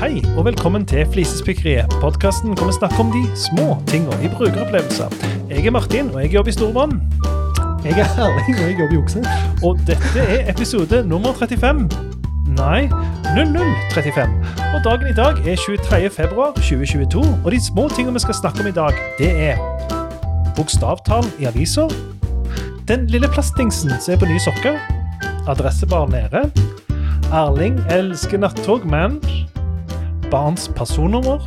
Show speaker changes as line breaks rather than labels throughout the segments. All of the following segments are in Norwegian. Hei, og velkommen til Flisespikkeriet. Podkasten hvor vi snakker om de små tinga i brukeropplevelser. Jeg er Martin, og jeg jobber i Storbrann.
Jeg er Erling, og jeg jobber i okse.
Og dette er episode nummer 35. Nei, 0035. Og dagen i dag er 23. februar 2022, og de små tingene vi skal snakke om i dag, det er bokstavtall i aviser, den lille plastdingsen som er på nye sokker, adressebar nede, Erling elsker nattog, men barns personnummer,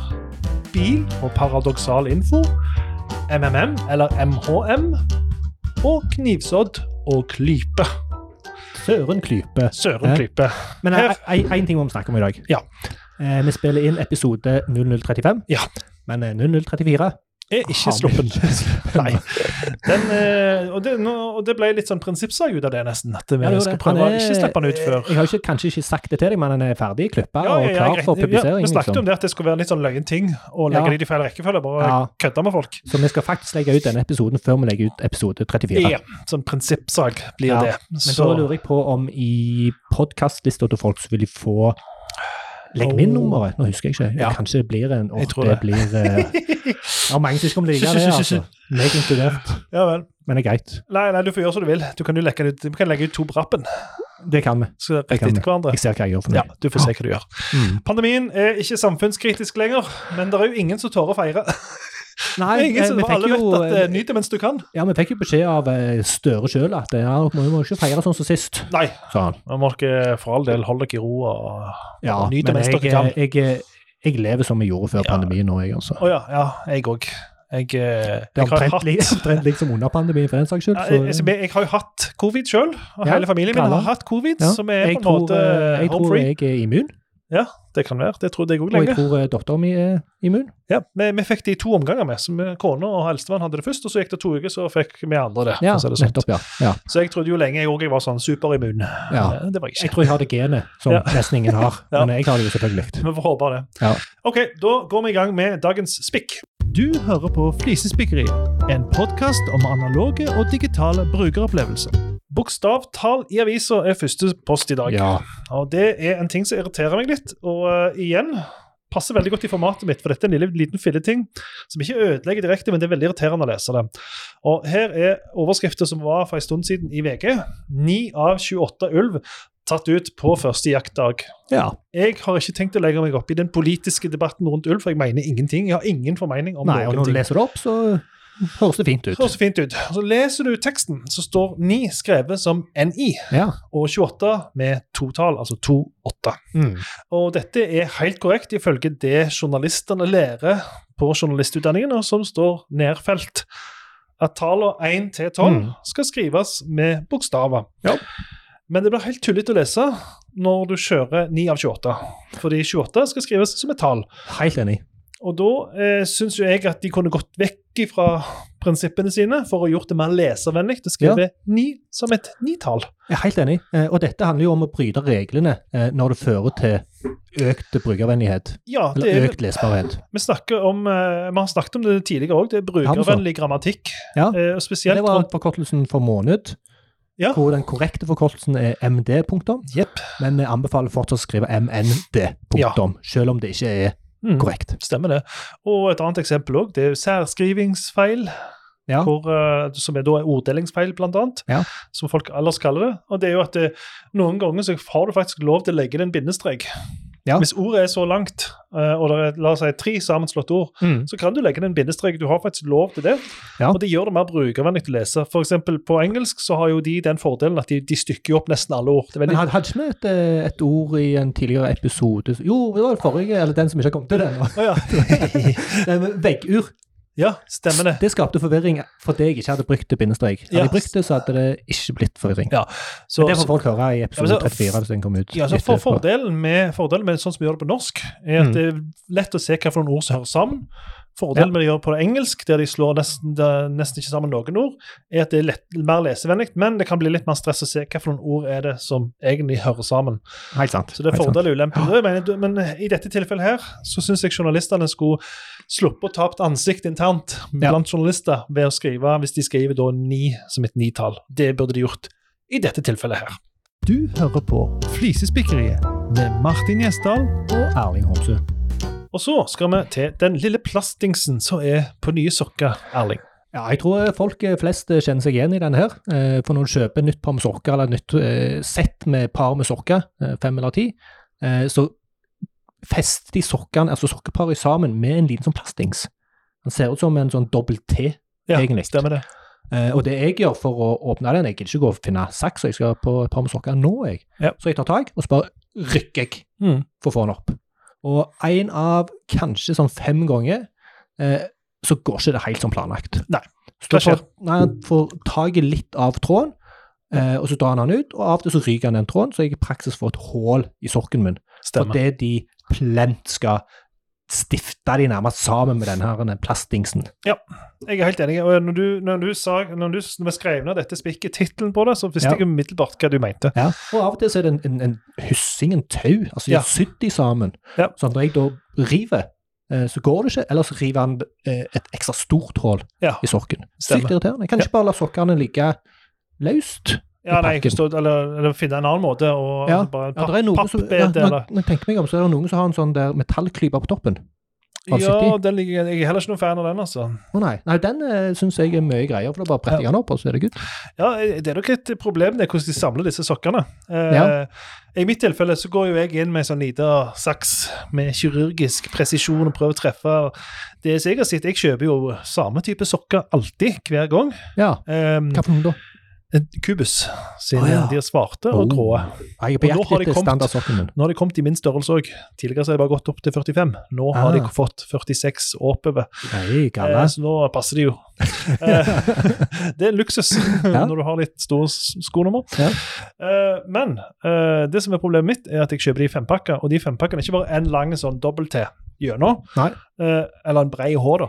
bil og paradoksal info, MMM eller MHM, og knivsodd og klype.
Søren klype.
Søren klype.
Men
Her.
én ting må vi snakke om i dag.
Ja.
Eh, vi spiller inn episode 0035,
Ja.
men eh, 0034
Er ikke sluppen. Nei. Den, eh, og, det, nå, og det ble litt sånn prinsippsak ut av det, nesten. At vi
Ja, det gjorde
skal
det.
prøve å
Han er-
ikke slippe den ut før.
Jeg har ikke, kanskje ikke sagt det til deg, men han er ferdig klippa
Ja, ja,
og
ja,
klar
greit.
for
Ja,
publisering.
vi snakket
liksom.
om det at det skulle være litt sånn løyen ting å legge
Ja.
det i de feil rekkefølge. Bare
Ja.
kødde med folk.
Så vi skal faktisk legge ut denne episoden før vi legger ut episode 34.
Ja, sånn prinsippsak blir
Ja,
det.
Men
Så-
da lurer jeg på om i podkastlista til folk så vil de få Legg min
Oh.
nummeret. Nå husker jeg ikke.
Ja.
Kanskje det blir en
Jeg
åtte.
tror
Det
det.
blir eh, Ja, mange som ikke kommer til å like det, altså. Meg inkludert.
Ja vel.
Men det er greit.
Nei, nei, du får gjøre som du vil. Du kan jo legge det ut, du kan legge ut to på rappen,
Det kan vi.
så
Det
rett
kan
etter hverandre.
Jeg ser hva jeg gjør for
Ja,
meg.
du får se hva du gjør.
Mm.
Pandemien er ikke samfunnskritisk lenger, men det er jo ingen som tør å feire.
Nei,
Det er ingen
eh,
som,
vi fikk
alle
jo,
vet at eh,
eh,
nyt det mens du kan.
ja, vi fikk jo beskjed av eh, Støre sjøl at eh, ja, dere må jo ikke feire sånn som sist,
Nei,
sa han.
nå må
eh,
dere for all del holde dere i ro og
Ja,
Nyt det
men
mens
jeg,
dere kan.
eh, jeg, eh, jeg lever som jeg gjorde før
Ja.
pandemien nå, jeg, altså.
Å ja, ja, jeg òg. Jeg, eh,
Det
jeg
er
har jo
omtrent
hatt
li- omtrent liksom under pandemien, for den saks skyld.
Ja,
så-
jeg, jeg, jeg har jo hatt covid sjøl, og
Ja,
hele familien min
alle.
har hatt covid,
Ja,
som er på en
jeg tror,
måte
eh, jeg
home
tror
free.
jeg er immun,
Det kan være. Det trodde jeg òg
og jeg
lenge.
tror eh, datteren min er immun.
Ja, vi, vi fikk det i to omganger, med, så vi- kona og eldstemann hadde det først, og så gikk det to uker, så fikk vi andre det.
Ja,
for å si det sånn.
nettopp, ja. ja.
Så jeg trodde jo lenge jeg òg var sånn superimmun.
ja.
Eh, Det var jeg
Jeg
ikke.
tror jeg har det genet som
Ja.
nesten ingen har,
Ja.
men jeg har det jo selvfølgelig.
Vi får håpe det.
Ja.
Ok, da går vi i gang med dagens spikk. Du hører på Flisespikkeriet, en podkast om analoge og digitale brukeropplevelser. Bokstavtall i avisa er første post i dag.
Ja,
Og det er en ting som irriterer meg litt. Og eh, igjen passer veldig godt i formatet mitt, for dette er en lille, liten filleting som ikke ødelegger direkte, men det er veldig irriterende å lese det. Og her er overskriften som var for en stund siden i VG. 9 av 28 ulv tatt ut på første jaktdag.
ja.
Jeg har ikke tenkt å legge meg opp i den politiske debatten rundt ulv, for jeg mener ingenting. Jeg har ingen formening om
Nei, og
noen
når du
ting.
leser det opp, så høres det fint
Det
ut.
høres fint ut. Så leser du teksten, så står 9 skrevet som NI,
Ja.
og 28 med totall, altså 28.
Mm.
Og dette er helt korrekt ifølge det journalistene lærer på journalistutdanningen, og som står nedfelt. At tallene 1 til 12
Mm.
skal skrives med bokstaver.
Ja.
Men det blir helt tullete å lese når du kjører 9 av 28, fordi 28 skal skrives som et tall.
Helt enig.
Og da eh, syns jo jeg at de kunne gått vekk fra prinsippene sine for å gjort det mer leservennlig og skrevet 9 som et nitall.
Jeg er helt enig. Eh, Og dette handler jo om å bryte reglene eh, når det fører til økt brukervennlighet.
Ja, det er
Eller økt lesbarhet.
Vi, snakker om, eh, vi har snakket om det tidligere òg, det er brukervennlig grammatikk.
Ja.
Eh, og spesielt
Det var
rundt
forkortelsen for måned,
Ja.
hvor den korrekte forkortelsen er MD, punktum.
Jepp.
Men vi anbefaler fortsatt å skrive MND, punktum, selv om det ikke er
Mm,
korrekt.
Stemmer det. Og et annet eksempel òg, det er særskrivingsfeil,
Ja.
hvor, eh, som er da en orddelingsfeil, blant annet.
Ja.
Som folk ellers kaller det. Og det er jo at eh, noen ganger så har du faktisk lov til å legge inn en bindestrek.
Ja.
Hvis ordet er så langt, eh, og det er la oss si tre sammenslåtte ord,
Mm.
så kan du legge inn en bindestrek. Du har faktisk lov til det.
Ja.
Og det gjør det mer brukervennlig å lese. For eksempel på engelsk så har jo de den fordelen at de, de stykker jo opp nesten alle ord. Det er
Men
veldig
hadde hadde ikke vi et, eh, et ord i en tidligere episode Jo, det var den forrige, eller den som ikke har kommet til den.
Å ja.
Det med Veggur.
ja, stemmer det.
Det skapte forvirring fordi jeg ikke hadde brukt det bindestrek. Hadde
Ja.
jeg brukt det, så hadde det ikke blitt forvirring.
Så,
Men det får folk høre i
Ja,
episode
men så-
34 hvis den kommer ut.
ja, så for,
etterpå.
fordelen, med, fordelen med sånn som vi gjør det på norsk, er at
Mm.
det er lett å se hva for noen ord som hører sammen. Fordelen
Ja.
med det de gjør på det engelsk, der de slår nesten, det er nesten ikke sammen noen ord, er at det er lett, mer lesevennlig, men det kan bli litt mer stress å se hva for noen ord er det som egentlig hører sammen.
Helt sant.
Så det er
helt sant.
fordel og ulempe. Men, jeg mener- men i dette tilfellet her så syns jeg journalistene skulle sluppe å tapt ansikt internt
Ja.
blant journalister ved å skrive, hvis de skriver da ni som et nitall. Det burde de gjort i dette tilfellet her. Du hører på Flisespikkeriet med Martin Gjesdal.
Og Erling Homsø.
Og så skal vi til den lille plastingsen som er på nye sokker, Erling.
Ja, jeg tror eh, folk flest kjenner seg igjen i denne her. Eh, For når du kjøper nytt par med sokker, eller nytt eh, sett med par med sokker, eh, fem eller ti, eh, så fester de sokkene, altså sokkeparet sammen med en liten sånn plastings. Den ser ut som en sånn dobbelt T.
Ja,
Egentlig.
Stemmer det.
Eh, Og det jeg gjør for å åpne den, jeg gidder ikke gå og finne saks, og jeg skal på et par med sokker nå, jeg.
Ja.
Så jeg tar tak, og så bare rykker jeg
Mm.
for å få den opp. Og én av kanskje sånn fem ganger, eh, så går ikke det helt som planlagt.
Nei. Hva
Så da
skjer?
får, nei, han får tak i litt av tråden, eh, og så drar han den ut, og av og til så ryker han den tråden, så jeg i praksis får et hull i sokken min.
Stemmer.
Fordi de plent skal stifte de nærmest sammen med den her den plastdingsen.
Jeg er helt enig. Og når du, når du, sa, når du s- når vi skrev ned dette spikket, tittelen på det, så visste
Ja.
jeg umiddelbart hva du mente.
Ja. Og av og til så er det en, en, en hyssing, en tau. Altså de
Ja.
har sydd de sammen.
Ja.
Så når jeg da river, eh, så går det ikke. Eller så river han eh, et ekstra stort hull
Ja.
i sokken.
Stemmer.
Sykt irriterende. Jeg kan ikke bare la sokkene ligge løst.
Ja, nei, jeg
pakken.
forstår, eller, eller finne en annen måte og
Ja.
bare
Ja,
papp,
det er noen som, ja,
pappbed,
når,
eller
når jeg tenker meg om, så er det noen som har en sånn der metallklype på toppen. Hva sitter
Ja,
i?
den ligger, jeg er heller ikke noen fan av den, altså.
Å nei. nei, den eh, syns jeg er mye greier, for da bare bretter jeg den opp, og så er det good.
Ja, eh, Det er nok et problem det, er hvordan de samler disse sokkene. Eh,
Ja.
I mitt tilfelle så går jo jeg inn med en sånn liten saks med kirurgisk presisjon og prøver å treffe. Det som jeg har sett, jeg kjøper jo samme type sokker alltid, hver gang.
Ja.
Eh,
Hva for noe da?
Kubus sine.
Å, ja.
De er svarte og
Oh.
gråe.
Nei, jeg er
Og
på
nå har
jakt
de
etter
kommet.
standardsokken min.
Nå har de kommet i min størrelse òg. Tidligere så har de bare gått opp til 45. Nå har de
Ah.
fått 46 og oppover.
Nei,
Eh,
galla.
så nå passer de jo. Eh, det er luksus
Ja.
når du har litt store s- skonummer.
Ja.
Eh, men eh, det som er problemet mitt, er at jeg kjøper de fempakker, og de fempakkene er ikke bare en lang sånn dobbelt-T gjennom,
Nei.
eh, eller en brei H, da.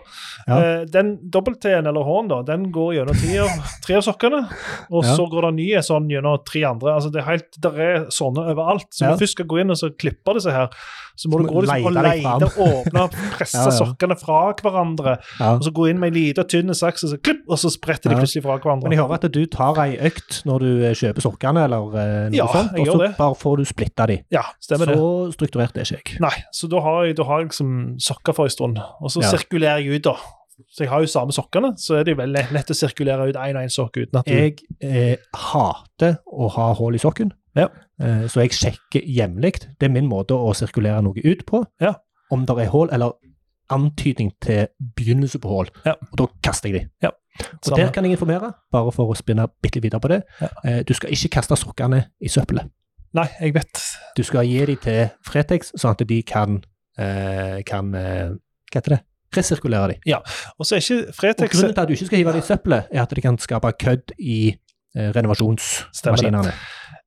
Ja.
Eh, den dobbelt-T-en eller H-en, da, den går gjennom tre av, tre av sokkene, og
Ja.
så går det nye sånn gjennom tre andre. Altså, det er helt, der er sånne overalt. Så
Ja.
når du først skal gå inn og så klippe disse her, så må du
Så må
gå
du
liksom, og
leide deg
leite, åpne, presse
Ja, ja.
sokkene fra hverandre
Ja.
og så gå inn med en liten, tynn saks, og så klipp, og så spretter de
Ja.
plutselig fra hverandre.
Men jeg hører at du tar ei økt når du eh, kjøper sokkene, eller eh, noe
Ja,
sånt,
jeg
og
gjør
så
det.
bare får du splitta de.
ja, stemmer
så
det.
strukturert er ikke jeg.
Nei, så da har jeg, da har jeg liksom sokker for en stund, og så
Ja.
sirkulerer jeg ut, da. Så jeg har jo samme sokkene, så er det jo veldig lett å sirkulere ut én og én sokk uten at du
Jeg eh, hater å ha hull i sokken,
Ja.
eh, så jeg sjekker jevnlig. Det er min måte å sirkulere noe ut på.
Ja.
Om det er hull, eller antydning til begynnelse på hull.
Ja.
Og da kaster jeg de. Og
Samme.
der kan jeg informere, bare for å spinne bitte litt videre på det.
Ja.
Eh, du skal ikke kaste sokkene i søppelet.
Nei, jeg vet.
Du skal gi de til Fretex, sånn at de kan, eh, kan eh, Hva heter det? Resirkulere de.
Og så er ikke
Og
Fretex
grunnen til at du ikke skal hive det i søppelet, er at det kan skape kødd i eh, renovasjonsmaskinene.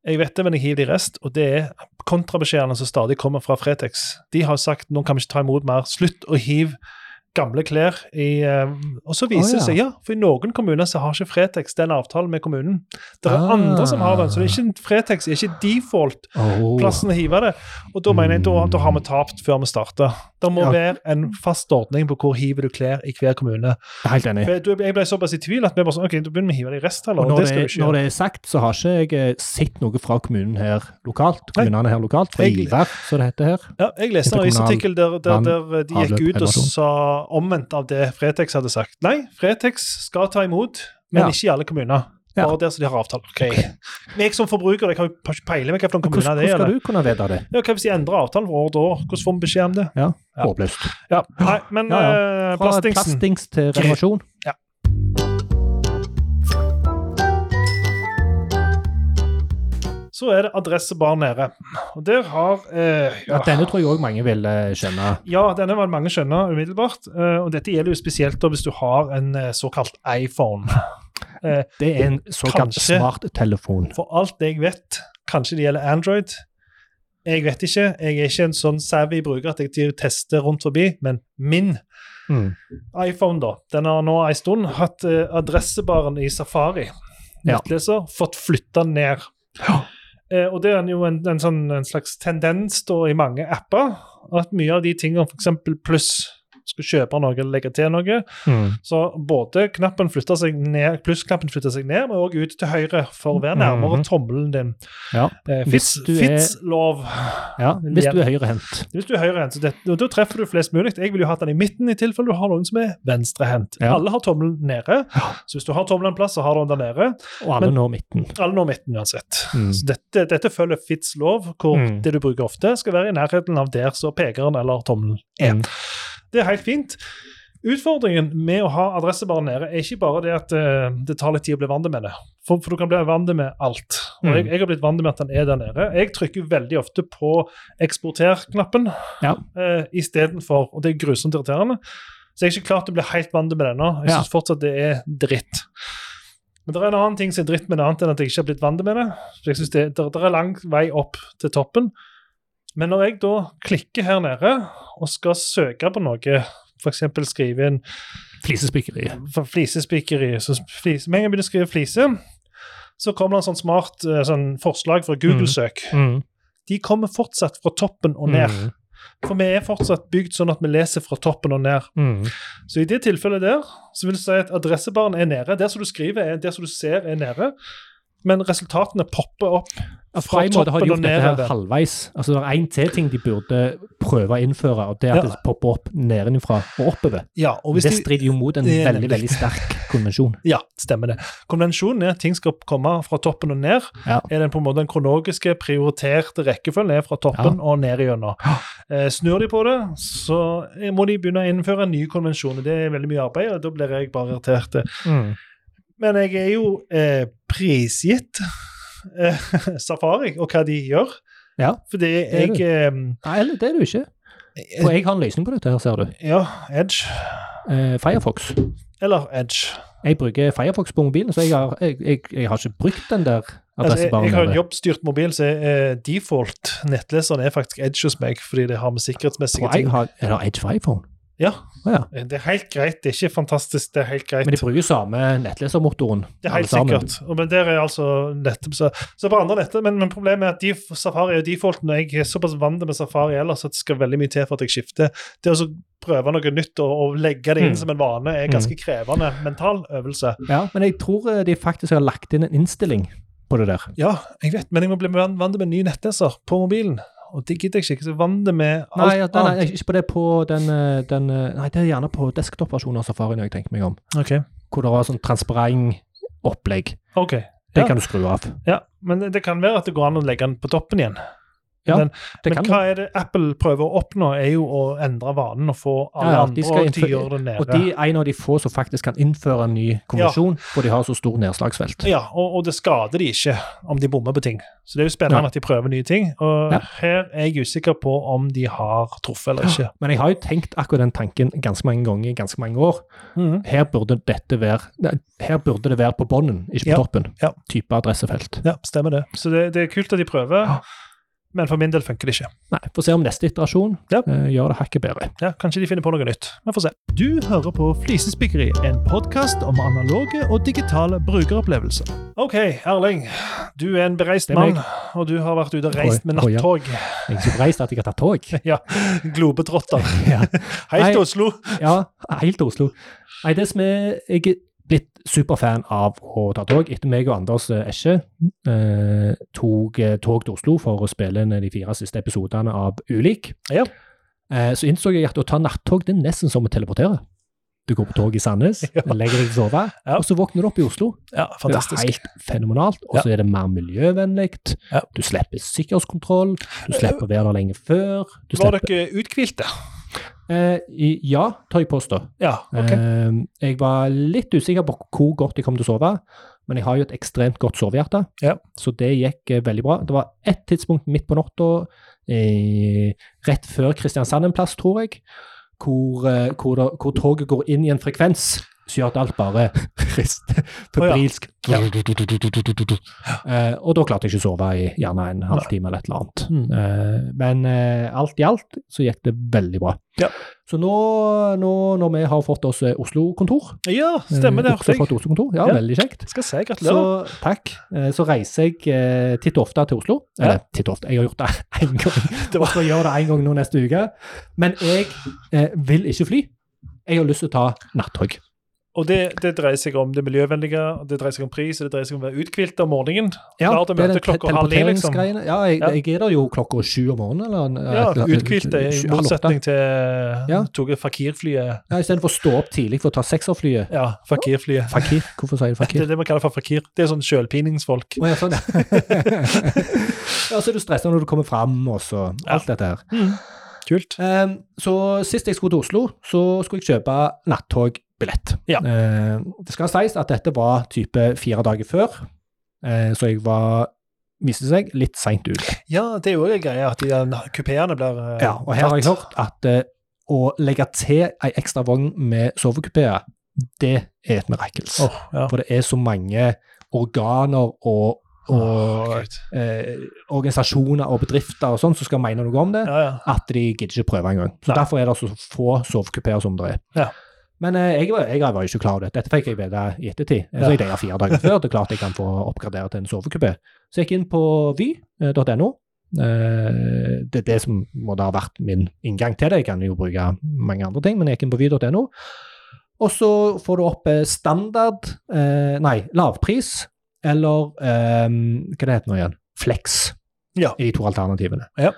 Jeg vet det, men jeg hiver det i rest, og det er kontrabeskjedene som stadig kommer fra Fretex. De har sagt nå kan vi ikke ta imot mer, slutt å hive gamle klær i eh, Og så viser det
Å, ja.
seg, ja, for i noen kommuner så har ikke Fretex den avtalen med kommunen. Det er
Ah.
andre som har den, så det er ikke Fretex er ikke default
Oh.
plassen å hive det. Og da mener jeg da, da har vi tapt før vi starter. Det må
Ja.
være en fast ordning på hvor hiver du klær i hver kommune.
Helt enig.
For jeg- jeg ble såpass i tvil at vi bare sånn, ok, da begynner vi å hive det i rest, eller?
Og
Og
når
det
det,
skal vi ikke gjøre.
når det er sagt, så har ikke jeg eh, sett noe fra kommunen her lokalt.
Nei.
Kommunene her lokalt, fra
Jeg-
Ivar, som det heter her.
Ja, jeg leste en
Interkommunal
avisartikkel der, der,
vann,
der eh, de gikk
avløp,
ut og
renovasjon.
sa omvendt av det Fretex hadde sagt. Nei, Fretex skal ta imot, men
Ja.
ikke i alle kommuner.
Ja.
Bare der som de har avtale. Ok. Men jeg som forbruker jeg har jo ikke peiling på hvilken
Hvordan,
kommune
hvordan
det er.
skal
eller?
du kunne vite det?
Ja, hva hvis de endrer avtalen fra år til år? Hvordan får vi beskjed om det?
Ja,
Ja.
Håpløst.
Ja, Nei, men
Ja,
eh,
Fra
plastingsen
plastings til renovasjon.
Ja. Så er det adressebar nede. Og der har eh,
Ja, denne tror jeg òg mange vil eh, kjenne.
Ja, denne var mange skjønner umiddelbart. eh, Og dette gjelder jo spesielt da hvis du har en eh, såkalt iPhone. Eh,
Det er en såkalt
Kanskje.
smarttelefon.
For alt jeg vet, kanskje det gjelder Android. Jeg vet ikke. Jeg er ikke en sånn savvy bruker at jeg til- tester rundt forbi, men min
Mm.
iPhone, da, den har nå en stund hatt eh, adressebaren i Safari,
Ja.
nettleser, fått flytta ned.
Ja.
Eh, og det er jo en, en, sånn, en slags tendens da i mange apper, at mye av de tingene, f.eks. pluss skulle kjøpe noe eller legge til noe. Så både knappen flytter seg ned, plussknappen flytter seg ned, men også ut til høyre for å være nærmere
Mhm.
tommelen din.
Ja.
Eh,
Hvis
Fitz-
du er-
Fitz-lov.
ja. Hvis du er høyrehendt.
Hvis du er høyrehendt, så det, og da treffer du flest mulig. Jeg ville jo hatt den i midten i tilfelle du har noen som er venstrehendt.
Ja.
Alle har tommelen nede, så hvis du har tommelen en plass, så har du den der nede.
Og alle
Men-
når midten.
Alle når midten uansett.
Mm.
Så dette, dette følger Fitz lov, hvor
Mm.
det du bruker ofte, skal være i nærheten av der så pekeren eller tommelen er.
Mm.
Det er helt fint. Utfordringen med å ha adressebaren nede er ikke bare det at eh, det tar litt tid å bli vant med det, for, for du kan bli vant med alt. Og
Mm.
jeg, jeg har blitt vant med at den er der nede. Jeg trykker veldig ofte på eksporter-knappen
Ja.
eh, istedenfor, og det er grusomt irriterende. Så jeg er ikke klart å bli helt vant med det ennå. Jeg
Ja.
syns fortsatt det er dritt. Men det er en annen ting som er dritt med det, annet enn at jeg ikke har blitt vant med det. Så jeg synes det, det, det er lang vei opp til toppen. Men når jeg da klikker her nede og skal søke på noe, f.eks. skrive inn
Flisespikkeri.
f- flisespikkeri så flis, Med en gang jeg begynner å skrive flise, så kommer det en sånn smart eh, sånn forslag fra Google-søk.
Mm.
De kommer fortsatt fra toppen og ned. For vi er fortsatt bygd sånn at vi leser fra toppen og ned. Så i det tilfellet der, så vil du si at adressebaren er nede. Der som du skriver, er der som du ser, er nede. Men resultatene popper opp.
Ja,
Fra
Fra en måte har de
toppen og
gjort dette her
nedover.
halvveis. Altså, det er én til ting de burde prøve å innføre, og det er at
Ja.
det popper opp nedenfra og oppover.
Ja, og
det strider jo mot en
Det er
veldig
nemlig-
veldig sterk konvensjon.
Ja, stemmer det. Konvensjonen er at ting skal komme fra toppen og ned.
Ja.
Er den på en måte den kronologiske, prioriterte rekkefølgen er fra toppen og ned igjennom. Eh, snur de på det, så må de begynne å innføre en ny konvensjon. og Det er veldig mye arbeid, og da blir jeg bare irritert. Men jeg er jo eh, prisgitt eh, Safari og hva de gjør.
Ja,
Fordi
er
jeg eh,
Nei, eller det er det jo ikke. For
eh,
jeg har en løsning på dette, her, ser du.
Ja, Edge.
Eh, Firefox.
Eller Edge.
Jeg bruker Firefox på mobilen, så jeg har, jeg, jeg, jeg har ikke brukt den der
Altså, jeg, jeg har en
adressebaren.
jobbstyrt mobil, så eh, default nettleseren er faktisk Edge hos meg, fordi det har med sikkerhetsmessige
Og jeg
ting
har, jeg har Edge for iPhone.
Ja,
Å ja.
det er helt greit. Det er ikke fantastisk, det er helt greit.
Men de bruker samme nettlesermotoren.
det er
alle
helt
sammen.
sikkert. Og, men der er altså nettet så, så på andre nettet, men, men problemet er at de, Safari er defaulten, og jeg er såpass vant med Safari ellers at det skal veldig mye til for at jeg skifter. Det å så prøve noe nytt og, og legge det inn
Mm.
som en vane er ganske krevende mental øvelse.
Ja, men jeg tror eh, de faktisk har lagt inn en innstilling på det der.
Ja, jeg vet, men jeg må bli van- vant med en ny nettleser på mobilen. Og det gidder jeg ikke. Jeg er så vant med alt
Nei, ja, nei,
annet.
nei, ikke på det på den, eh, den eh, Nei, det er gjerne på desktop-versjonen av Safari når jeg tenker meg om.
Ok.
Hvor det var sånn transparent opplegg.
Ok,
Det
Ja.
kan du skru av.
ja, Men det kan være at det går an å legge den på toppen igjen.
Ja,
men
Det
men
kan
hva
du.
er det Apple prøver å oppnå, er jo å endre vanen og få alle
Ja, ja, de
andre
skal
og til å
innføre-
gjøre det nede.
Og de er en av de få som faktisk kan innføre en ny konvensjon, for de har så stor nedslagsfelt.
Ja, og, og det skader de ikke om de bommer på ting. Så det er jo spennende
Ja.
at de prøver nye ting. Og
Ja.
her er jeg usikker på om de har truffet eller ikke.
Men jeg har jo tenkt akkurat den tanken ganske mange ganger i ganske mange år.
Mhm.
Her burde, dette være, nei, her burde det være på bunnen, ikke på
Ja,
toppen.
ja.
Type adressefelt.
Ja, stemmer det. Så det, det er kult at de prøver,
Ja.
men for min del funker det ikke.
Nei, Få se om neste iterasjon
Ja.
eh, gjør det hakket bedre.
Ja, Kanskje de finner på noe nytt. Vi får se. Du hører på Flisespikkeri, en podkast om analoge og digitale brukeropplevelser. OK, Erling. Du er en bereist
Det er meg.
mann, og du har vært ute og reist med
Oi, oi, ja.
nattog.
Jeg er så reist at jeg har tatt tog.
Globetrotter.
Ja.
Hei
Nei.
til Oslo.
Ja, helt til Oslo. Nei, det som er Jeg er blitt superfan av å ta tog. Etter meg og Anders eh, Esje eh, tok eh, tog til Oslo for å spille inn de fire siste episodene av Ulik.
Ja.
Eh, så innså jeg at å ta nattog det er nesten som å teleportere. Du går på tog i Sandnes,
Ja.
legger deg til å sove,
Ja.
og så våkner du opp i Oslo.
Ja,
Det
fantastisk.
er helt fenomenalt. Og så er det mer miljøvennlig.
Ja.
Du slipper sikkerhetskontroll. Du slipper å være der lenge før. Du
Var
slipper,
dere uthvilte?
eh, i- ja, tør jeg påstå.
Ja, OK.
Eh, Jeg var litt usikker på hvor godt jeg kom til å sove, men jeg har jo et ekstremt godt sovehjerte,
Ja.
så det gikk eh, veldig bra. Det var ett tidspunkt midt på natta, eh, rett før Kristiansand en plass, tror jeg, hvor, eh, hvor, det, hvor toget går inn i en frekvens. Så gjør at alt bare rister febrilsk.
Ja.
Eh, og da klarte jeg ikke å sove i gjerne en halvtime eller et eller annet.
Mm.
Eh, men eh, alt i alt så gikk det veldig bra.
Ja.
Så nå, nå når vi har fått oss eh, Oslo-kontor
Ja, stemmer det.
eh,
Hørte
også
jeg.
fått Oslo-kontor, ja,
Ja.
veldig kjekt.
Skal si
Så,
gratulerer.
takk. Eh, Så reiser jeg eh, titt og ofte til Oslo. Eller titt og ofte, jeg har gjort det én gang.
Det var-
Og skal gjøre det én gang nå neste uke. Men jeg eh, vil ikke fly. Jeg har lyst til å ta nattog.
Og det, det dreier seg om det miljøvennlige, og det dreier seg om pris, og det dreier seg om å være uthvilt om morgenen. Klar til å møte
den te-
klokka halv ni, liksom.
teleporteringsgreiene. Ja, jeg,
Ja.
jeg er der jo klokka sju om morgenen. Eller, en-
Ja,
eller-
uthvilt er i
sju- halv åtte.
motsetning til
Ja.
tog fakirflyet.
Ja, Istedenfor å stå opp tidlig for å ta sekserflyet.
Ja, fakirflyet.
Fakir. Hvorfor sier du
Det
fakir?
er det man kaller for fakir. Det er sånn sjølpiningsfolk.
Å, ja, sånn, ja. ja, så er du stressa når du kommer fram, og så alt dette her.
Mm. Kult.
Ehm, så sist jeg skulle til Oslo, så skulle jeg kjøpe nattogbillett.
Ja.
Ehm, det skal sies at dette var type fire dager før, eh, så jeg var viste seg litt seint ute.
Ja, det er jo også en greie at de der kupeene blir eh,
Ja, og her har jeg
tatt.
hørt at eh, å legge til ei ekstra vogn med sovekupé, det er et mirakels.
Åh, ja.
For det er så mange organer og, og
Åh, Gud.
eh, organisasjoner og bedrifter og sånn som skal mene noe om det,
Ja, ja.
at de gidder ikke prøve engang. Så
Nei.
Derfor er det så få sovekupeer som det er.
Ja.
Men eh, jeg, var, jeg var jo ikke klar over det. Dette fikk jeg vite i ettertid. Eh,
Ja.
Så jeg delte fire dager før. Det er klart jeg kan få oppgradere til en sovekupé. Så jeg gikk inn på vy.no. Eh, det er det som må da ha vært min inngang til det. Jeg kan jo bruke mange andre ting, men jeg gikk inn på vy.no. Og så får du opp eh, standard eh, Nei, lavpris eller eh, Hva det heter nå igjen? Flex
Ja.
i de to alternativene.
Ja.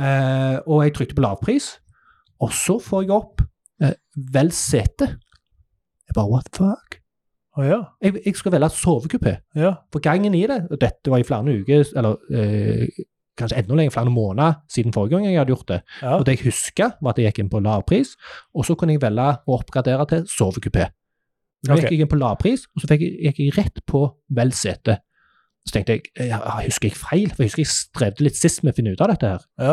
Eh, og jeg trykte på lavpris, og så får jeg opp eh, vel sete. Jeg bare what the fuck?
Å, ja.
Jeg, jeg skal velge sovekupé.
ja.
For gangen i det, og dette var i flere uker, eller eh, kanskje enda lenger, flere måneder siden forrige gang jeg hadde gjort det,
Ja.
og det jeg husker, var at jeg gikk inn på lavpris, og så kunne jeg velge å oppgradere til sovekupé. Så
Ok.
gikk jeg inn på lavpris, og så fikk jeg, gikk jeg rett på vel sete. Så tenkte jeg, ja, husker jeg feil? For jeg husker jeg strevde litt sist med å finne ut av dette her.
Ja.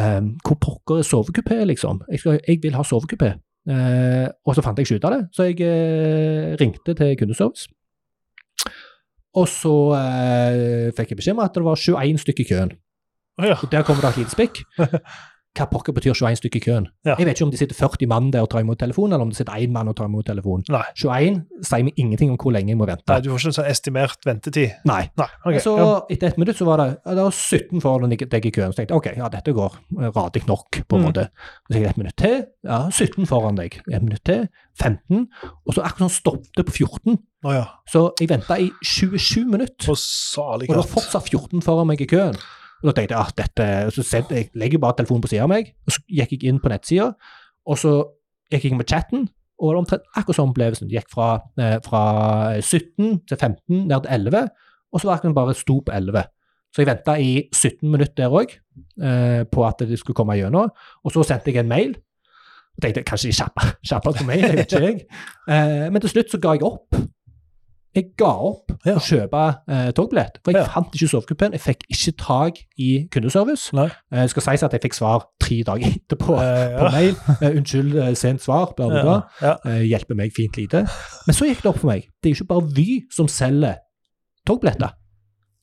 Ehm, hvor pokker er sovekupé, liksom? Jeg, skal, jeg vil ha sovekupé. Eh, og så fant jeg ikke ut av det, så jeg eh, ringte til kundeservice. Og så eh, fikk jeg beskjed om at det var 21 stykker i køen.
Å, ja.
Og Der kommer det et lite spikk. Hva pokker betyr 21 stykker i køen?
Ja.
Jeg vet ikke om det sitter 40 mann der og tar imot telefon, eller om det sitter én mann og tar imot telefon.
Nei.
21 sier vi ingenting om hvor lenge jeg må vente.
Nei, du får ikke en sånn estimert ventetid.
Nei.
Nei. ok.
Så
ja.
etter ett minutt så var det, ja, det var 17 foran deg i køen. Så tenkte jeg ok, ja, dette går eh, radig nok, på en
Mm.
måte. Så tenkte jeg ett minutt til, ja, 17 foran deg. Ett minutt til, 15. Og så akkurat sånn stoppet det på 14.
Å, ja.
Så jeg venta i 27 minutter,
På salig
og det var
katt.
fortsatt 14 foran meg i køen. Og da tenkte jeg ja, dette, så sendte jeg legger jeg bare telefonen på sida av meg, og så gikk jeg inn på nettsida, og så gikk jeg inn på chatten. Og det var omtrent akkurat sånn opplevelsen. Det gikk fra, eh, fra 17 til 15, ned til 11, og så var akkurat bare sto på 11. Så jeg venta i 17 minutter der òg, eh, på at det skulle komme gjennom. Og så sendte jeg en mail. Og tenkte kanskje de kjapper kjapper på meg, det vet ikke jeg. Eh, men til slutt så ga jeg opp. Jeg ga opp
Ja.
å kjøpe eh, togbillett, for jeg
Ja.
fant ikke sovekupeen. Jeg fikk ikke tak i kundeservice.
Nei.
Eh, det skal sies at jeg fikk svar tre dager etterpå
Eh,
på mail. Eh, unnskyld, eh, sent svar, bla, bla, bla.
ja. ja.
Eh, hjelper meg fint lite. Men så gikk det opp for meg. Det er jo ikke bare Vy som selger togbilletter.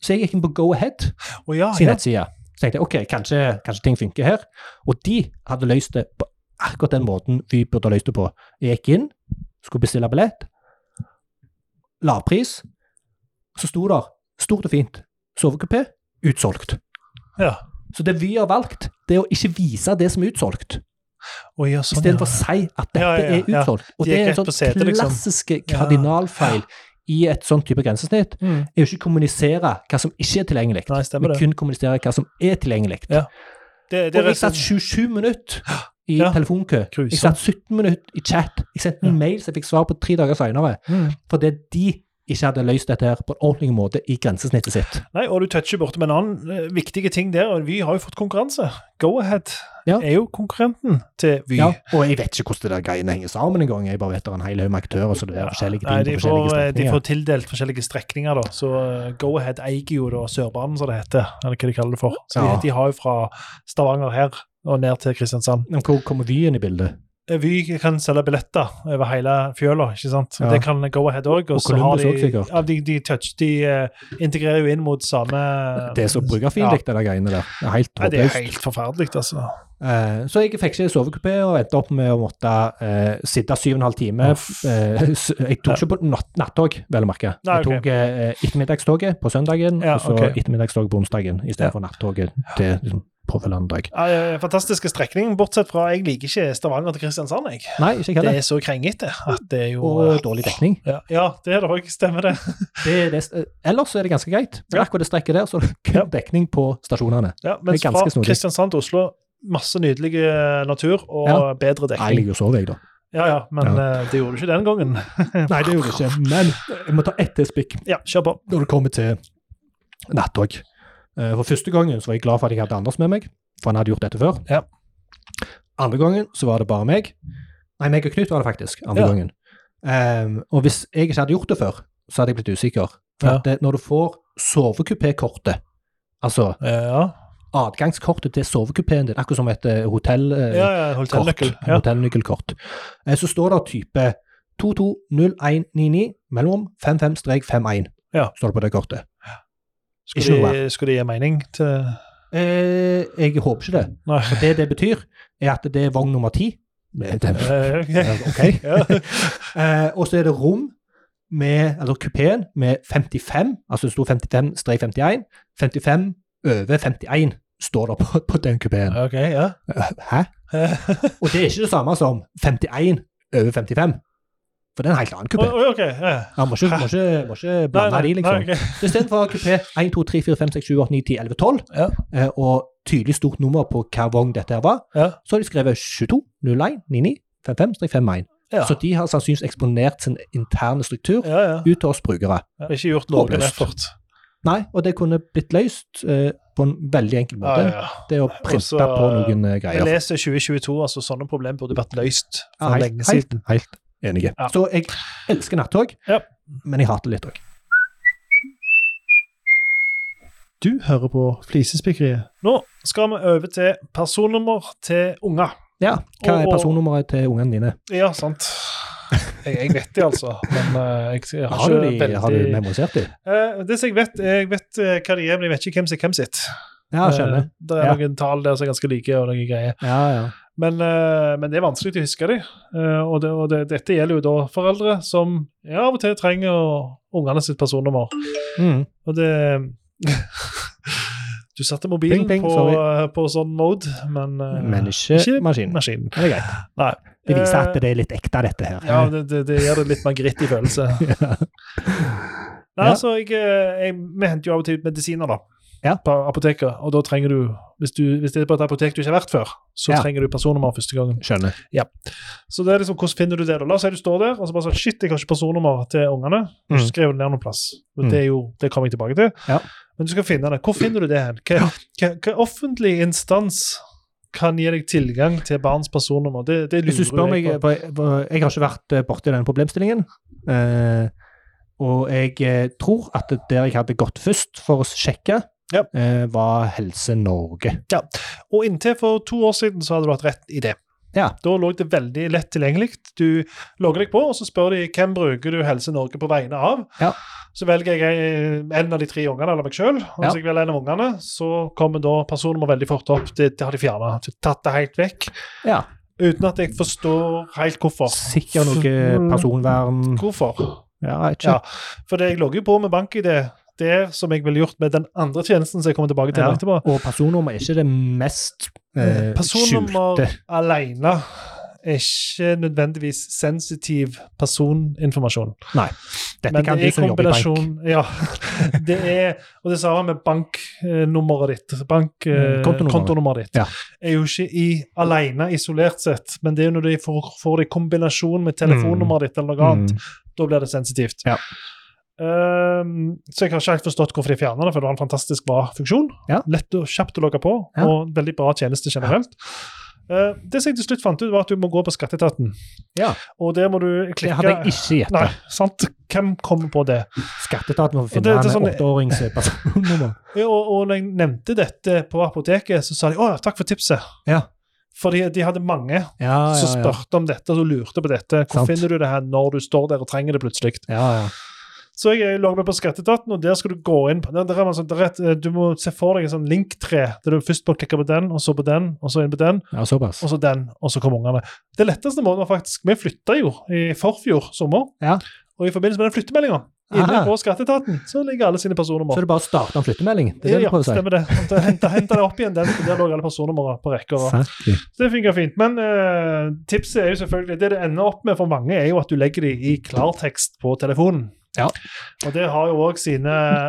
Så jeg gikk inn på Go-Ahead
Å, ja, Ah,
sin
ja.
nettside. Så tenkte jeg ok, kanskje, kanskje ting funker her. Og de hadde løst det på akkurat den måten Vy burde ha løst det på. Jeg gikk inn, skulle bestille billett, lavpris. Så sto der, stort og fint, sovekupé, utsolgt.
Ja.
Så det Vy har valgt, det er å ikke vise det som er utsolgt.
Å, ja, sånn,
Istedenfor
ja.
å si at dette
Ja, ja, ja,
er
ja.
utsolgt. Og
De
det
gikk
er en
rett
sånn
på setet, liksom.
klassiske
Ja.
kardinalfeil i et sånt type grensesnitt.
Mm.
Er jo ikke å kommunisere hva som ikke er tilgjengelig,
Nei, stemmer
men
det.
kun kommunisere hva som er tilgjengelig.
Ja, Det, det
Og
er
jeg satt
sånn-
27 minutter i
Ja.
telefonkø. Jeg
grusomt.
satt 17 minutter i chat. Jeg sendte en
Ja.
mail som jeg fikk svar på tre dager senere,
Mm.
fordi de ikke hadde løst dette her på en ordentlig måte i grensesnittet sitt.
Nei, og du toucher bortom en annen eh, viktige ting der, og Vy har jo fått konkurranse. Go-Ahead
Ja.
er jo konkurrenten til Vy.
Ja, og jeg vet ikke hvordan det der greiene henger sammen engang. Jeg bare vet det er en hel haug med aktører, så det er forskjellige ting
Nei, de
på
får,
forskjellige
eh, de
strekninger.
får tildelt forskjellige strekninger, da. Så eh, Go-Ahead eier jo da Sørbanen, som det heter. Eller hva de kaller det for. Så
Ja.
de, de har jo fra Stavanger her og ned til Kristiansand.
Men Hvor kommer Vy inn i bildet?
Eh, Vy kan selge billetter over hele fjøla, ikke sant.
Ja.
Det kan Go-Ahead òg.
Og Columbus også, sikkert.
Ja, de, de, touch, de eh, integrerer jo inn mot samme
Det er så brukerfiendtlig, det der greiene der. Det er helt
Nei, det er
håpløst.
helt forferdelig, altså.
Eh, så jeg fikk ikke sovekupé og endte opp med å måtte eh, sitte syv og en halv time.
Uff.
Eh, s- jeg tok ikke på natt, nattog, vel å merke.
Nei,
Jeg
ok.
tok eh, ettermiddagstoget på søndagen,
Ja,
og så
ok.
ettermiddagstoget på onsdagen, istedenfor nattoget til liksom, påfølgende dag.
Ja, det er fantastiske strekning, bortsett fra jeg liker ikke Stavanger til Kristiansand. jeg.
Nei, ikke jeg
Det
heller.
er så krengete at det er jo
Og dårlig dekning.
ja, ja, det er det òg. Stemmer det.
Det, det, ellers så er det ganske greit. Men
Ja.
akkurat det strekket der, så er det kun
Ja.
dekning på stasjonene.
Ja, mens
Det er
fra
ganske snodig.
Kristiansand til Oslo, masse nydelig eh, natur og
Ja.
bedre
Nei, jeg
dekning.
ligger og sover, jeg, da.
Ja, ja, men eh, det gjorde du ikke den gangen.
Nei, det gjorde jeg ikke. Men jeg må ta ett til spikk
Ja, kjør på.
når det kommer til nattog. Eh, For første gangen så var jeg glad for at jeg hadde Anders med meg, for han hadde gjort dette før.
Ja.
Andre gangen så var det bare meg. Nei, meg og Knut var det faktisk. andre
Ja.
gangen. Ehm, og hvis jeg ikke hadde gjort det før, så hadde jeg blitt usikker. For
Ja.
at det, når du får sovekupékortet, altså
Ja,
adgangskortet til sovekupeen din, akkurat som et eh, hotell... eh,
ja, ja hotellnøkkel.
Kort,
Ja.
hotellnøkkelkort. Eh, Så står det type 220199 mellom 55-51.
Ja.
Står det på det kortet.
Skulle,
Ikke noe
de, skulle de gi mening til
Eh, jeg håper ikke det.
Nei.
For det det betyr, er at det er vogn nummer ti. Men det-
Eh, ok.
Ok.
Ja.
Eh, Og så er det rom med, eller kupeen med 55, altså det sto 55-51. 55 over 51 står det på, på den kupeen.
Ok, ja.
Hæ?
Eh,
Og det er ikke det samme som 51 over 55. For det er en helt annen kupé.
Oi, oi, ok. Ja.
Ja, må ikke, må ikke, må ikke blande de, liksom.
Nei, ok.
Så Istedenfor kupé 1, 2, 3, 4, 5, 6, 7, 8, 9, 10, 11, 12,
Ja.
eh, og tydelig stort nummer på hva vogn dette her var,
Ja.
så har de skrevet 22, 01, 99, 55, 51.
Ja.
Så de har sannsynligvis eksponert sin interne struktur
ja, ja.
ut til oss brukere.
Jeg har Ikke gjort lovlig
Håpløst.
effort.
Nei, og det kunne blitt løst eh, på en veldig enkel
Ja,
måte.
ja, ja.
Det å printe
Også,
på noen eh,
Jeg
greier.
leser 2022, altså sånne problemer burde vært løst
Ja,
for
helt-
lenge siden.
Helt, helt enige.
Ja.
Så jeg elsker nattog,
Ja.
men jeg hater det litt òg.
Du hører på Flisespikkeriet. Nå skal vi over til personnummer til unger.
Ja, hva
Og-
er
og-
personnummeret til ungene dine?
Ja, sant. Jeg, jeg vet det, altså. Men eh, jeg, jeg har,
Har du,
ikke
de, har du
veldig
memorisert dem?
Eh, Det som jeg vet, jeg vet eh, hva de er, men jeg vet ikke hvem som er hvem sitt.
Ja, skjønner.
Eh, Det er
Ja.
noen tall der som er ganske like, og noen greier.
Ja, ja.
Men, eh, men det er vanskelig å huske dem. Og, det, og det, dette gjelder jo da foreldre som ja, av og til trenger å- ungene sitt personnummer.
Mm.
Og det Du satte mobilen
Pling, pling,
på,
sorry.
eh, på sånn mode, men, eh,
Men ikke,
ikke
maskinen.
maskinen.
Men Det er greit.
Nei.
Det viser at
Eh,
det er litt ekte, dette her.
Ja, det, det, det gjør det litt mer gritt i følelse. Nei,
Ja.
altså, jeg, eh, jeg, Vi henter jo av og til ut medisiner da,
Ja.
på apoteket. Og da trenger du hvis, du, hvis det er på et apotek du ikke har vært før, så
Ja.
trenger du personnummer første gangen.
Skjønner.
Så det er liksom, hvordan finner du det? da? La oss si du står der og så bare sånn, shit, jeg har ikke personnummer til ungene.
Mm.
Mm. Skrev det ned noen plass. Og
Mm.
Det, er jo, det kommer jeg tilbake til.
Ja.
Men du skal finne det. Hvor finner du det hen? Hva, hva, hva offentlig instans kan gi deg tilgang til barns personnummer? Det, det
Hvis du spør
lurer
meg eh,
jeg på.
for jeg, for jeg har ikke vært eh, borti den problemstillingen. eh, og jeg eh, tror at det der jeg hadde gått først for å sjekke,
Ja.
eh, var Helse Norge.
Og inntil for to år siden så hadde du hatt rett i det.
Ja.
Da lå det veldig lett tilgjengelig. Du logger deg på, og så spør de hvem bruker du Helse Norge på vegne av.
Ja.
Så velger jeg eh, en av de tre ungene eller meg sjøl. Og
Ja.
hvis jeg velger en av ungene, så kommer da personnummer veldig fort opp. Det, det har de fjerna. Tatt det helt vekk.
Ja.
Uten at jeg forstår helt hvorfor.
Sikkert noe
Mm.
eh, personvern
Hvorfor?
Ja, jeg vet ikke.
Ja. For det jeg logger på med BankID, det er som jeg ville gjort med den andre tjenesten som jeg kommer tilbake til
Ja.
etterpå.
Og personnummer er ikke det mest eh,
Personnummer
skjulte.
alene er ikke nødvendigvis sensitiv personinformasjon.
Dette kan du som jobber i bank.
Ja. Det er, og det samme med banknummeret ditt. Bank, eh,
Mm, kontonummeret.
kontonummeret ditt.
Ja.
Er jo ikke i, alene isolert sett, men det er jo når de får, får det i kombinasjon med telefonnummeret ditt eller noe annet,
Mm.
da blir det sensitivt.
Ja.
Ehm, så jeg har ikke helt forstått hvorfor de fjerner det, for det var en fantastisk bra funksjon.
Ja.
Lett og kjapt å logge på,
Ja.
og veldig bra tjeneste generelt. Eh, det som jeg til slutt fant ut, var at du må gå på Skatteetaten.
Ja.
Og der må du
Det
klikke
hadde jeg ikke gjetta.
Nei, sant? Hvem kommer på det?
Skatteetaten må
Og
finne
det- det
en
er sånn-
åtteårings personnummer.
Ja, Og, og når jeg nevnte dette på apoteket, så sa de å, takk for tipset.
Ja.
Fordi de hadde mange
Ja,
som
ja, ja.
spurte om dette og lurte på dette. Hvor
Sant.
finner du det her når du står der og trenger det plutselig?
ja, ja.
Så jeg lå meg på Skatteetaten, og der skal du gå inn på der, der er man sånn, der er et, eh, Du må se for deg en sånn linktre, der du først må klikke på den, og så på den, og så inn på den,
ja såpass.
og så den, og så kommer ungene. Det letteste måten var faktisk Vi flytta jo i forfjor sommer,
Ja.
og i forbindelse med den flyttemeldinga Inne
Aha.
på skatteetaten så ligger alle sine
Så
personnummer.
er det bare å starte en flyttemelding? Det er det
ja,
du prøver å si?
stemmer det. Hente, hente det opp igjen. Den, der lå alle personnumrene på rekke. og rad.
Fattig.
Så det funker fint. Men eh, tipset er jo selvfølgelig Det det ender opp med for mange, er jo at du legger dem i klartekst på telefonen.
Ja.
Og det har jo òg sine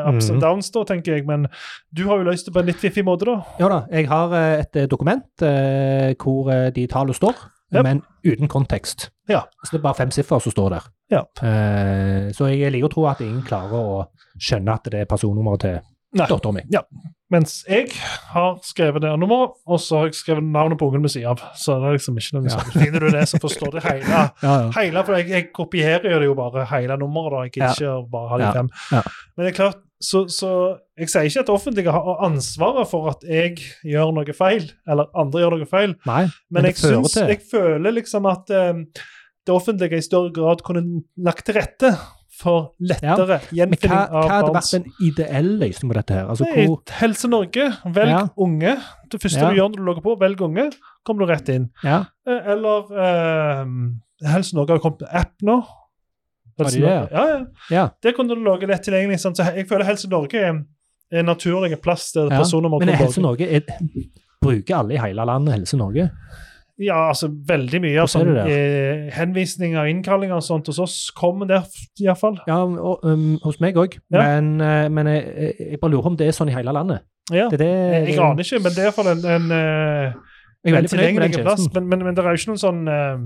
ups and
Mhm.
downs, da, tenker jeg. Men du har jo løst det på en litt fiffig måte, da.
Ja da, jeg har eh, et eh, dokument eh, hvor eh, de tallene står,
Yep.
men uten kontekst.
Ja.
Så det er bare fem siffer som står der.
Ja.
Eh, så jeg liker å tro at ingen klarer å skjønne at det er personnummeret til
Nei.
dattera mi.
Mens jeg har skrevet det nummeret, og så har jeg skrevet navnet på ungen ved siden av. Så det er liksom ikke noe
Ja.
sånn. Finner du det, så forstår du hele.
Ja, ja.
hele for jeg, jeg kopierer jo det jo bare hele nummeret, da. Jeg
Ja.
gidder ikke å bare ha de
Ja.
fem.
Ja.
Men det er klart, så, så jeg sier ikke at det offentlige har ansvaret for at jeg gjør noe feil, eller andre gjør noe feil,
Nei,
men,
det
jeg,
fører
syns,
til-
jeg føler liksom at eh, det offentlige i større grad kunne lagt til rette for lettere
Men hva,
gjenfinning
hva
av
hadde
barns
vært en ideell løsning på dette? her? Altså,
Nei,
hvor,
Helse Norge, velg
Ja.
unge. Det første
Ja.
du gjør når du logger på, velg unge, kommer du rett inn.
ja,
Eh, Eller eh, Helse Norge har jo kommet med app nå.
Har de
Helse
det,
Norge- Ja, ja.
ja.
Der kunne du lage lett tilgjengelig. Sant? Så he- jeg føler Helse Norge er en- er en naturlig plass der
Ja,
personnummer
Men
kan
er Helse
logge.
Norge er, Bruker alle i hele landet Helse Norge?
Ja, altså veldig mye av
Hvor ser du
sånn, eh, henvisninger og innkallinger og sånt hos oss kommer der, iallfall.
Ja, og, um, hos meg òg.
Ja.
Men, eh, men jeg, jeg- jeg bare lurer om det er sånn i hele landet.
Ja.
Det, er det,
Jeg, jeg aner ikke, men det er iallfall en, en eh,
Jeg er veldig fornøyd med den
tilgjengelig plass.
tjenesten.
Men, men, men det er jo ikke noen sånn eh,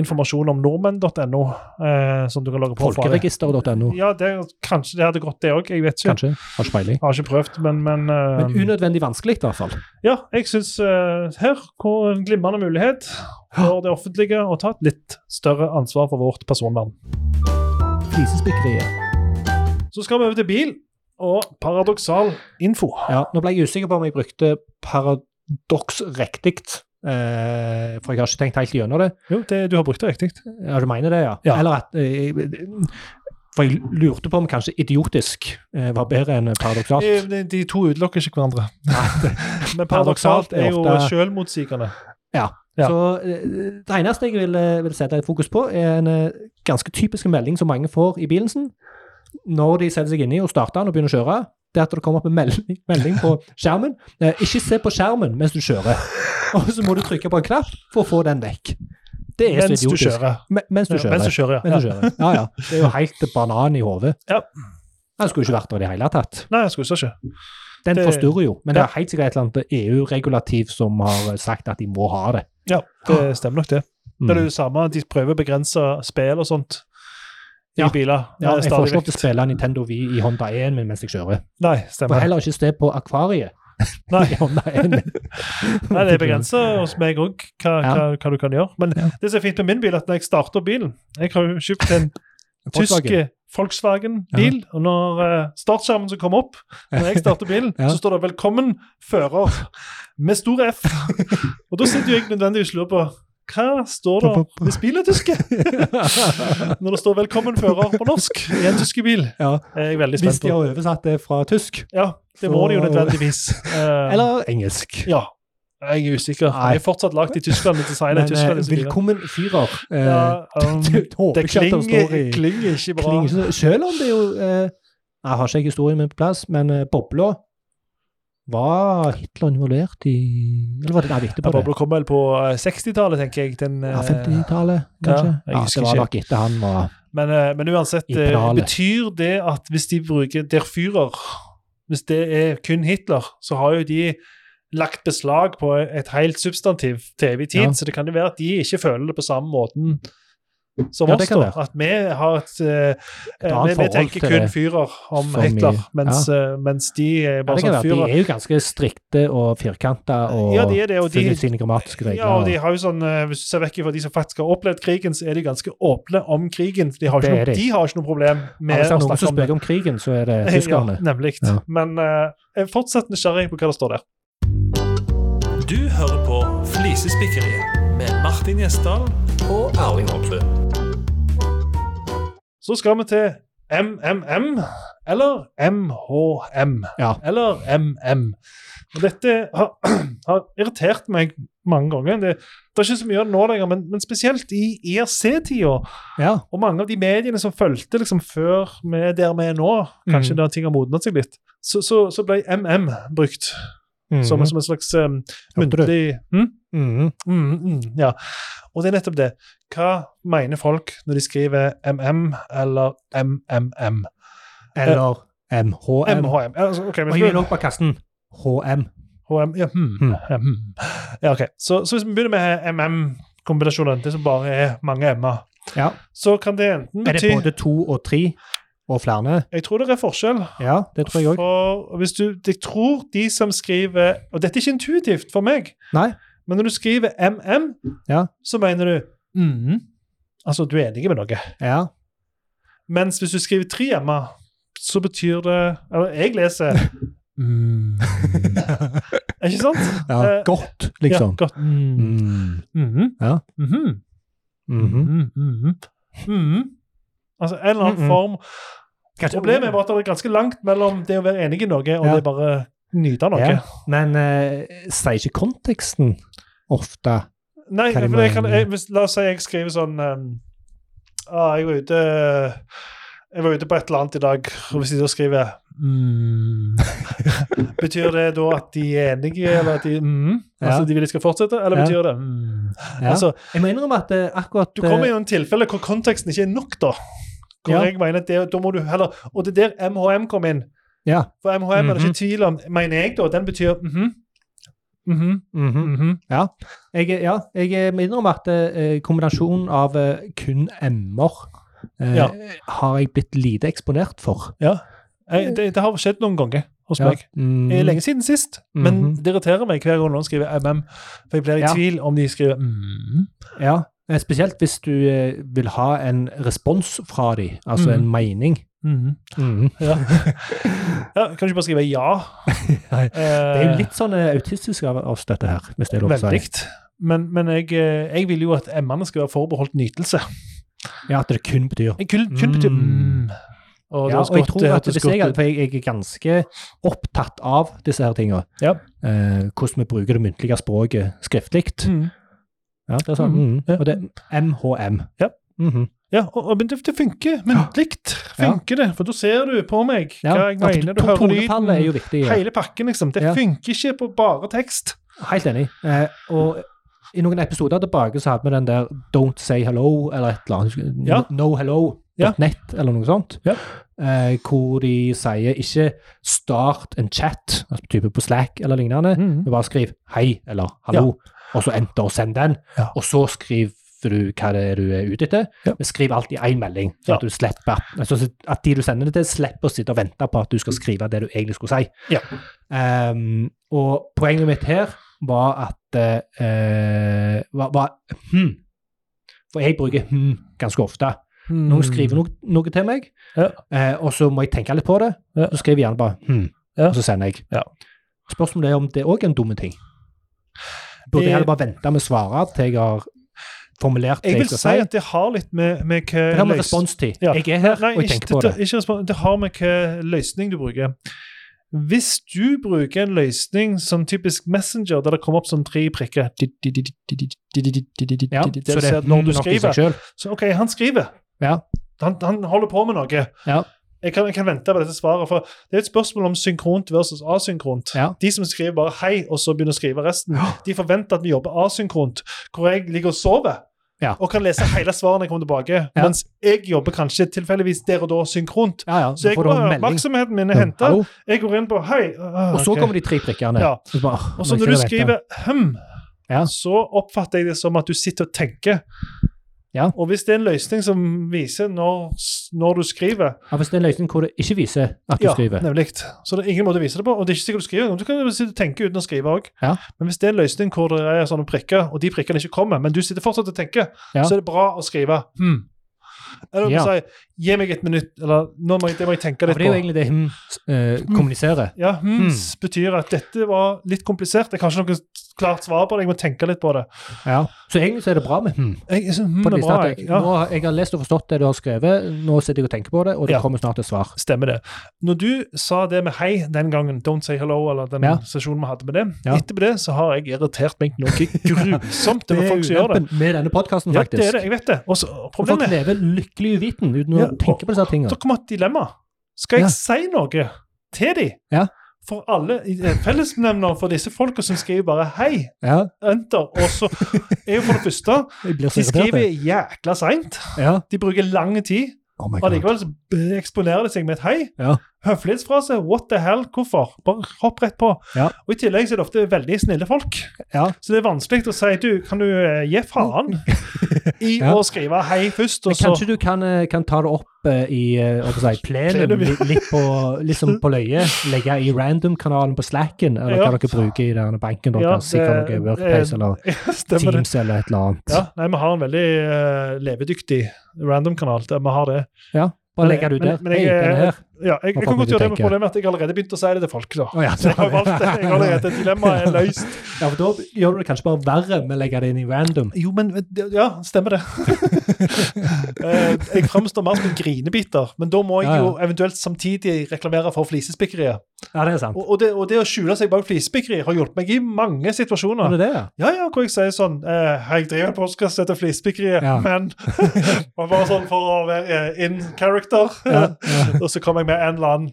informasjon om nordmenn.no eh, som du kan logge på. fra det.
Folkeregisteret.no,
Ja, det, er- kanskje det hadde gått, det òg. Jeg vet ikke.
kanskje? Har ikke peiling.
Jeg har ikke prøvd, men, men, eh,
Men unødvendig vanskelig, i hvert fall.
Ja, jeg syns her hvor en glimrende mulighet for det offentlige å ta et litt større ansvar for vårt personvern.
Flisespikkeriet.
Så skal vi over til bil og paradoksal info.
Ja, nå ble jeg usikker på om jeg brukte paradoks riktig, eh, for jeg har ikke tenkt helt gjennom det.
Jo, det, du har brukt det riktig.
Ja, du mener det, ja?
Ja.
Eller at eh, For jeg lurte på om kanskje idiotisk eh, var bedre enn paradoksalt.
Eh, De, de to utelukker ikke hverandre. Men paradoksalt er jo
Paradoksalt er ofte-
sjølmotsigende. ja.
Så eh, det eneste jeg vil, eh, vil sette et fokus på, er en eh, ganske typisk melding som mange får i bilen sin når de setter seg inni og starter den og begynner å kjøre. Det er at det kommer opp en melding, melding på skjermen. Eh, ikke se på skjermen mens du kjører. Og så må du trykke på en knapp for å få den vekk. Det er så
Mens du
idiotisk.
kjører.
Me- Mens du
Ja,
kjører.
Mens du kjører,
Men
ja.
du kjører. Ja, ja. Det er jo helt banan i hodet.
Ja.
Den skulle ikke vært der i det hele tatt.
Nei, jeg skulle ikke.
Den
Det-
forstyrrer jo, men det
Ja.
er helt sikkert et eller annet EU-regulativ som har sagt at de må ha det.
Ja, det stemmer nok, det. Det er
ah. Mm.
det samme, de prøver å begrense spill og sånt i
Ja.
biler. eh,
Ja, jeg får
stadig
ikke lov til å
vekk.
spille Nintendo Wii i Honda 1 min mens jeg kjører.
Nei,
Jeg får
stemmer.
heller ikke se på akvariet
Nei.
i Honda 1 min.
Nei, det er begrensa hos meg òg hva,
Ja.
hva, hva du kan gjøre. Men
Ja.
det som er fint med min bil, er at når jeg starter bilen Jeg har jo kjøpt en tysk
Volkswagen.
Volkswagen-bil, og når eh, startskjermen som kommer opp når jeg starter bilen,
Ja.
så står det 'Velkommen, fører', med stor F. og da sitter jo jeg nødvendigvis og lurer på hva står det hvis bilen er tysk? Når det står 'Velkommen, fører' på norsk i en tysk bil,
Ja.
er jeg veldig
Hvis
spent
de
på.
har oversatt det fra tysk
Ja, det må de jo
Så-
nødvendigvis. Eh,
eller engelsk.
Ja. Jeg er usikker.
Nei.
Jeg er fortsatt lagd i Tyskland. men Designet
Men
i
eh,
Tyskland. liksom.
velkommen fyrer. Eh,
Ja, um,
du- håper
det
ikke at
klinger,
det står i
klinger ikke bra.
klinger ikke så- Selv om det jo eh, Jeg har ikke historien min på plass, men eh, bobla Var Hitler involvert i Eller var det der
Ja,
viktig på det?
Bablo kom vel på eh, 60-tallet, tenker jeg. Den, eh,
Ja, 50-tallet, kanskje?
jeg
Ja,
husker
det var
ikke.
nok etter han var
men, eh, men uansett,
I
eh,
Pralet.
betyr det at hvis de bruker Der Führer Hvis det er kun Hitler, så har jo de lagt beslag på et helt substantiv til evig tid,
Ja.
så det kan jo være at de ikke føler det på samme måten som
Ja,
oss.
det kan
da.
være.
At vi har et eh,
annet
vi, vi
forhold
tenker
til
kun
det.
Führer om
Som i-
Hitler, mens, eh, mens de er
Ja,
bare
det kan
sånn
være.
Führer.
De er jo ganske strikte og firkanta og
Ja, de er det, og de-
følger sine grammatiske regler.
Ja, og de har jo sånn, eh, Hvis du ser vekk fra de som faktisk har opplevd krigen, så er de ganske åpne om krigen. De har
Det
ikke,
er
noe,
de.
de har ikke noe problem
Ja,
med
Hvis det er
å
noen
snakke
som
om det.
spør om krigen, så er det
Ja,
tyskerne.
nemlig.
Ja.
Men eh, jeg er fortsatt nysgjerrig på hva det står der.
Du hører på Flisespikkeriet med Martin Gjesdal og Erling Hoksrud.
Så skal vi til MMM, eller MHM,
Ja.
eller MM. Og dette har, har irritert meg mange ganger. Det, det er ikke så mye av det nå lenger, men, men spesielt i E IRC-tida.
Ja.
Og mange av de mediene som fulgte liksom, før vi er der vi er nå, kanskje
Mm.
da ting har modnet seg litt, så, så, så ble MM brukt
Mhm.
som, som en slags um,
Hørte du?
muntlig hm?
Mhm.
Mm, mm, ja. Og det er nettopp det. Hva mener folk når de skriver MM eller MMM?
Eller MHM.
MHM. Altså, ok,
Og
hvis
jeg vil
vi,
også bare kaste den. HM.
HM, ja, hmm,
Hmm.
ja, hmm. ja, ok. Så, så hvis vi begynner med MM-kombinasjonen, det som bare er mange M-er,
Ja.
så kan det enten
Er det
bety
både to og tre og flere?
Jeg tror det er forskjell.
Ja, det tror jeg òg.
For hvis du, jeg tror de som skriver Og dette er ikke intuitivt for meg,
Nei.
men når du skriver MM,
Ja. Mhm.
så mener du mm. Altså, du er enig med noe.
Ja.
Mens hvis du skriver tre hjemme, så betyr det Eller jeg leser mm.
Mhm.
Ikke sant?
ja.
Eh,
Godt, liksom.
Ja, godt. Mm.
Mm.
Mhm.
Ja.
Mhm.
Mhm.
Mhm. Mhm. Mhm. Altså en eller annen
Mhm.
form Problemet er bare at det er ganske langt mellom det å være enig i noe og
Ja.
det bare nyte av noe.
Ja. Men eh, sier ikke konteksten ofte
Nei,
Hva de
for jeg kan,
mener.
jeg, hvis, la oss si jeg skriver sånn ehm, ah, jeg, var ute, jeg var ute på et eller annet i dag, og hvis de da skriver mm, Betyr det da at de er enige, eller at de mm,
Ja.
Altså de vil de skal fortsette, eller
Ja.
betyr det mm?
ja.
Altså,
Jeg må innrømme at eh, akkurat
du kommer
eh,
i en tilfelle hvor konteksten ikke er nok, da. Hvor
Ja.
jeg mener at det, da må du heller, Og det er der MHM kom inn.
Ja.
For MHM er det ikke tvil om, mener jeg, da. Den betyr mhm, mhm,
mhm.
mhm.
Jeg, er- ja, jeg er- må innrømme at eh, kombinasjonen av eh, kun M-er eh,
Ja.
har jeg blitt lite eksponert for.
Jeg, Eh, det, det har skjedd noen ganger hos meg.
Mm.
Det er lenge siden sist, men
Mhm.
det irriterer meg hver gang noen skriver MM. For jeg blir i
Ja.
tvil om de skriver mm.
Ja, eh, spesielt hvis du eh, vil ha en respons fra dem, altså
Mhm.
en mening.
Mhm. Ja. ja. Kan du ikke bare skrive ja?
Nei, Det er jo
Eh,
litt sånn eh, autistisk av oss, dette her, hvis det er lov å
Veldig.
si.
Men, men jeg, eh, jeg vil jo at M-ene skal være forbeholdt nytelse.
Ja, At det kun betyr
Jeg kun, kun
Mm.
betyr mm. Og det
ja,
høres
og jeg
godt-
tror
det
at
høres
hvis jeg,
godt ut.
for jeg, jeg er ganske opptatt av disse her tinga.
Ja.
Eh, hvordan vi bruker det muntlige språket skriftlig.
Mm.
Ja, det er sånn.
Mm.
mhm.
Ja.
Og det er MHM.
Ja.
Mhm.
Ja, og, og, men det, det funker muntlig. Funker det? For da ser du på meg
ja.
hva jeg
Ja, for
mener. Du
to-
hører
Tonefallet er
lyden.
jo viktig. ja.
Hele pakken, liksom. Det
Ja.
funker ikke på bare tekst.
Helt enig. Eh, og i noen episoder tilbake så hadde vi den der 'Don't say hello' eller et eller annet.
Ja.
No hello.
Ja.
.net eller noe sånt.
Ja.
Eh, hvor de sier ikke 'start en chat', altså type på Slack eller lignende.
Mhm.
Du bare skriv 'hei' eller 'hallo', og så enter og send den.
Ja.
Og så skriver du hva det er du er ute etter.
Ja.
Men skriv alltid én melding, så
Ja.
at, du slipper, altså at de du sender det til, slipper å sitte og vente på at du skal skrive det du egentlig skulle si.
Ja.
Ehm, og poenget mitt her var at eh, var, var, hm. For jeg bruker hm ganske ofte.
Mm.
Noen skriver noe, noe til meg,
Hmm. Ja.
eh, og så må jeg tenke litt på det.
Ja.
Så skriver jeg gjerne bare hm,
Ja.
og så sender jeg.
Ja.
Spørsmålet er om det òg er en dum ting. Burde
Eh,
jeg heller bare vente med å svare til jeg har formulert det
Jeg
jeg,
vil
skal
si
si?
at det har litt med, med hva
Det har med
løs-
responstid.
Ja.
Jeg er her,
Nei,
og jeg
ikke,
tenker på
det,
det.
ikke respons, det har med hva løsning du bruker. Hvis du bruker en løsning som typisk Messenger, der det kommer opp sånn tre prikker
Ja,
Det
så
du
det
ser
er
Når du
nok i seg
skriver
sjøl.
Så OK, han skriver.
Ja.
Han, han holder på med noe.
Ja.
Jeg kan, jeg kan vente på dette svaret, for det er et spørsmål om synkront versus asynkront.
Ja.
De som skriver bare 'hei', og så begynner å skrive resten, de forventer at vi jobber asynkront, hvor jeg ligger og sover.
Ja.
Og kan lese hele svarene jeg kommer tilbake.
Ja.
Mens jeg jobber kanskje tilfeldigvis der og da synkront.
Ja, ja.
Så jeg
får du en
går,
melding.
oppmerksomheten min er
Ja,
henta.
hallo?
Jeg går inn på 'hei', ah,
Og så
ok.
kommer de tre prikkene.
Ja.
Så bare, ah,
Og så når
må jeg
du
sitte og vente.
skriver 'hm',
Ja.
så oppfatter jeg det som at du sitter og tenker.
Ja.
Og hvis det er en løsning som viser når, når du skriver
ja, Hvis det er en løsning hvor det ikke viser at du
Ja,
skriver.
nemlig. Så det er ingen måte å vise det på. Og det er ikke sikkert du skriver. Du kan jo sitte og tenke uten å skrive òg.
Ja.
Men hvis det er en løsning hvor det er sånne prikker, og de prikkene ikke kommer, men du sitter fortsatt og tenker,
Ja.
så er det bra å skrive 'hm'. Eller
Ja.
ja. si Gi meg et minutt, eller nå må jeg, det må jeg tenke
For
litt
det er jo
på.
egentlig det hun eh,
Hm.
kommuniserer.
Ja, hmm,
Mm.
betyr at dette var litt komplisert. Jeg har ikke noe klart svar på det. Jeg må tenke litt på det.
Ja. Så egentlig så er det bra med hm.
Jeg, jeg synes, hmm,
På
det
det
er bra,
stedet.
jeg. Ja.
Nå, har- jeg har lest og forstått det du har skrevet, nå sitter jeg og tenker på det, og det
Ja.
kommer snart et svar.
Stemmer det. Når du sa det med hei den gangen, don't say hello, eller den
Ja.
sesjonen vi hadde med det,
Ja.
etterpå det så har jeg irritert meg noe grusomt over folk som gjør det.
ulempen med denne podkasten,
Ja,
faktisk.
det er det. Jeg vet det. Og så-
Og Folk
problemet er
lever lykkelig uviten uten
Ja,
å tenke på disse tingene.
Så kommer et dilemma. Skal jeg
Ja.
si noe til dem?
Ja.
For alle eh, fellesnevner for disse folka som skriver bare 'hei',
Ja,
enter, og så er jo for det første
jeg blir så
De skriver
irritert.
jækla seint.
Ja.
De bruker lang tid.
Oh my God.
Allikevel så b- eksponerer de seg med et 'hei'.
Ja.
Høflighetsfrase. What the hell? Hvorfor? Bare hopp rett på.
Ja.
Og I tillegg så er det ofte veldig snille folk.
Ja.
Så det er vanskelig å si du, kan du eh, gi faen i
Ja.
å skrive 'hei' først, og
Men
så
kanskje du kan, eh, kan ta det opp eh, i eh, hva skal jeg si, plenum,
Plenum, ja.
li- litt på, liksom på løye. Legge i random-kanalen på Slacken, eller
Ja.
hva dere bruker i denne banken
Ja,
deres. Sikkert
det-
noe Workplace
det-
eller
Stemmer det.
Teams eller et eller annet.
Ja, nei, vi har en veldig eh, levedyktig random-kanal der vi har det.
Bare
men-
legge det ut
men-
der.
men jeg eh,
Hei,
er-
den er her.
Ja, jeg, jeg
Hva
kan godt
du
gjøre det, men
tenker?
problemet er at jeg allerede begynte å si det til folk. da.
Å ja,
Så jeg har valgt det. Jeg har allerede dilemmaet er løst.
Ja, for da gjør du det kanskje bare verre med å legge det inn i random.
Jo, men det- Ja, stemmer det. Eh, jeg framstår mer som en grinebiter, men da må jeg
Ja, ja.
jo eventuelt samtidig reklamere for flisespikkeriet.
Ja, det er sant.
Og, og, det, og det å skjule seg bak flisespikkeri har hjulpet meg i mange
Er
situasjoner.
det det, ja?
Ja, ja, hvor jeg sier sånn eh, Jeg driver podcast etter flisespikkeriet,
Ja.
men og bare sånn for å være eh, in character.
Ja, ja.
og så kommer jeg med en eller annen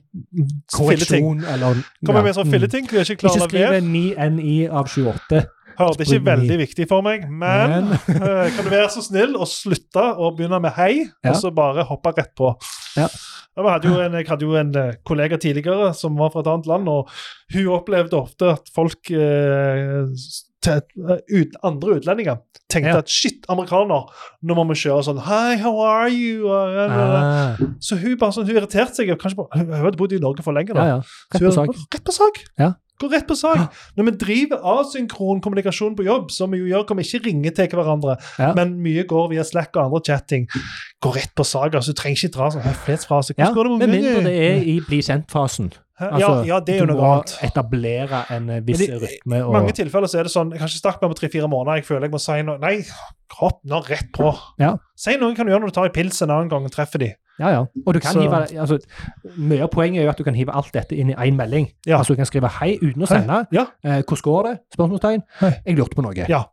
filleting.
Korreksjon eller
Kommer jeg
ja,
med en sånn
mm.
filleting, hvor jeg ikke klarer
Ikke
å la være.
skrive 9NI av 28.
Hørte ikke
spring
veldig viktig for meg, men
Men-
eh, kan du være så snill å slutte å begynne med hei, og
Ja.
så bare hoppe rett på?
Ja.
Jeg hadde, jo en, jeg hadde jo en eh, kollega tidligere som var fra et annet land, og hun opplevde ofte at folk eh, s- til, eh, ut, andre utlendinger tenkte
Ja.
at shit, amerikaner, nå må vi kjøre sånn Hi, how are you? Og- eh,
Ah,
Så hun bare sånn, hun irriterte seg. og Kanskje, bare- hun hun hadde bodd i Norge for lenge. da.
ja, ja. Rett på
Så gjør-
sak.
Rett på sak.
Ja.
Gå rett på sak.
Ja.
Når vi driver asynkron kommunikasjon på jobb, som vi jo gjør hvor vi ikke ringer til hverandre,
Ja.
men mye går via Slack og andre chatting, gå rett på sak. altså Du trenger ikke dra sånn høflighetsfrase.
Ja,
Hvordan går det med
med mindre
ungen din?
det er i bli kjent-fasen.
Hæ?
Altså,
ja, ja, det er jo
du
noe
må
annet.
etablere en eh, viss
Men det-
rytme
I
og
mange tilfeller så er det sånn Jeg har ikke snakket med ham på tre-fire måneder. Jeg føler jeg må si noe. Nei, hopp nå rett på.
Ja.
Si noe kan du gjøre når du tar en pils en annen gang og treffer de.
Ja, ja. Og du kan
Så-
hive, altså, Mye av poenget er jo at du kan hive alt dette inn i én melding.
Ja.
Altså Du kan skrive 'hei' uten å
Hei.
sende.
Ja.
Eh, 'Hvordan går det?' spørsmålstegn.
Hei.
'Jeg lurte på noe'.
Ja,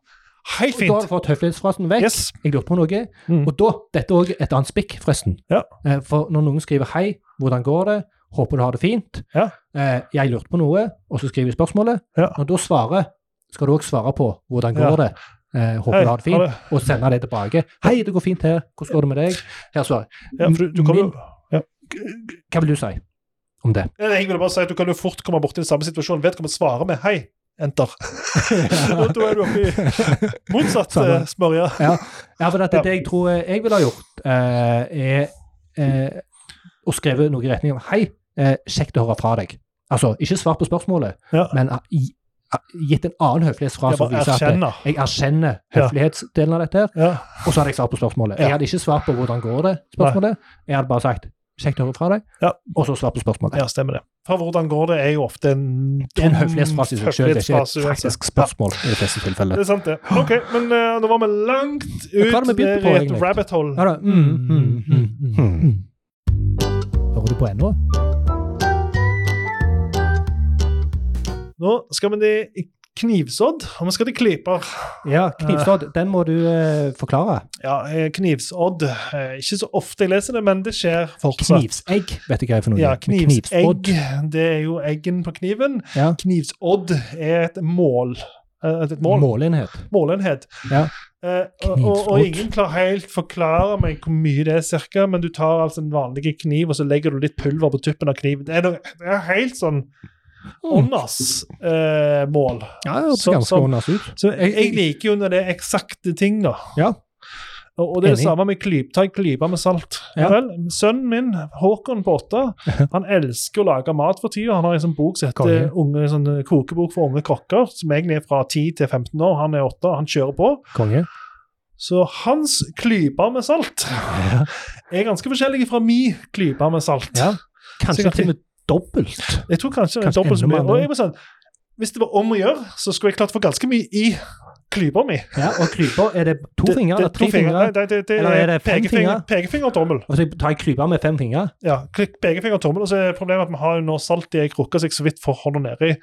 Helt
Og da har
fint.
du fått høflighetsfrasen vekk.
Yes.
'Jeg lurte på noe'.
Mm.
Og da, dette er også et annet spikk, forresten.
Ja.
Eh, for når noen skriver 'hei, hvordan går det', 'håper du har det fint',
Ja.
eh, 'jeg lurte på noe', og så skriver de spørsmålet.
Ja.
Når du da svarer, skal du også svare på 'hvordan går det', eh, 'håper
Hei,
du har det
ha
fint', og sende det tilbake. 'Hei, det går fint her, hvordan går det med deg?' Her svarer jeg. Mm,
Ja, for du, du kommer jo
Hva vil du si om det?
Nei, Jeg vil bare si at Du kan jo fort komme borti den samme situasjonen. Vedkommende svarer med 'hei, enter'. og da er du oppe i motsatt
Samme.
eh, smørje.
Ja, for dette,
Ja.
det jeg tror eh, jeg ville ha gjort, eh, er eh, å skrive noe i retning av 'hei, eh, kjekt å høre fra deg'. Altså, ikke svar på spørsmålet,
Ja.
men eh, gi- eh, gitt en annen høflighetsfrase
Jeg
som
bare
viser at eh,
erkjenner.
jeg erkjenner
Ja.
høflighetsdelen av dette, her,
Ja.
og så hadde jeg svart på spørsmålet.
Ja.
Jeg hadde ikke svart på 'hvordan går det?' spørsmålet. Jeg hadde bare sagt 'kjekt å høre fra deg',
Ja.
og så svart på spørsmålet.
ja, stemmer det. For hvordan går det, er jo ofte en
Det er en høflighetsfrase i seg selv, det er ikke
høflighetsfrase
et
uansett.
faktisk spørsmål i de fleste
Ja,
tilfeller.
det er sant, det. Ok, men eh, nå var vi langt
Hva
ut
hadde vi begynt
ned
på,
i et
egentlig?
rabbit hole.
Ja da. Mm, mm, mm,
Hmm.
mm, mm. Hører du på ennå?
Nå skal vi ned i knivsodd, og vi skal til klyper.
Ja, knivstodd, den må du eh, forklare.
Ja, eh, knivsodd. Eh, Ikke så ofte jeg leser det, men det skjer fortsatt.
Knivsegg, vet du hva er for noe?
Ja,
Men
knivsegg. Det er jo eggen på kniven.
Ja.
Knivsodd er et mål. Eh, Et mål.
Målenhet.
målenhet.
Ja.
Eh, og, og, og
Knivskudd.
ingen klarer helt forklare meg hvor mye det er, cirka, men du tar altså en vanlig kniv, og så legger du litt pulver på tuppen av kniven. Det er, noe, det er helt sånn åndas eh, mål.
Mm. Ja, det hørtes
Så-
ganske
så-
åndas ut.
Så jeg, jeg liker jo når det er eksakte ting, da.
Ja.
Og, og det er det
Enig.
samme med klyp. Ta en klype med salt.
Ja.
Vel, sønnen min, Håkon på åtte, han elsker å lage mat for tida. Han har en sånn bok som heter
Konge.
unge, sånn kokebok for unge kokker, som egentlig er fra 10 til 15 år. Han er åtte, han kjører på.
Konge.
Så hans klyper med salt
Ja.
er ganske forskjellige fra min klyper med salt.
Ja. Kanskje
Sikkert
til og med dobbelt.
Jeg tror kanskje, det er
Kanskje
dobbelt så
enda
mye.
mer.
Og jeg var sånn, hvis det var om å gjøre, så skulle jeg klart få ganske mye i klypa mi.
Ja, og kryper, er det to
Det-
fingre
det-
eller tre
to fingre.
fingre?
Nei, det, det, det,
Eller er det fem
pekefinger,
fingre?
pekefinger og tommel.
Og så tar jeg kryper med fem fingre?
Ja, klikk pekefinger og tommel, og så er problemet at vi har jo nå salt i ei krukke, så jeg så vidt får hånda nedi.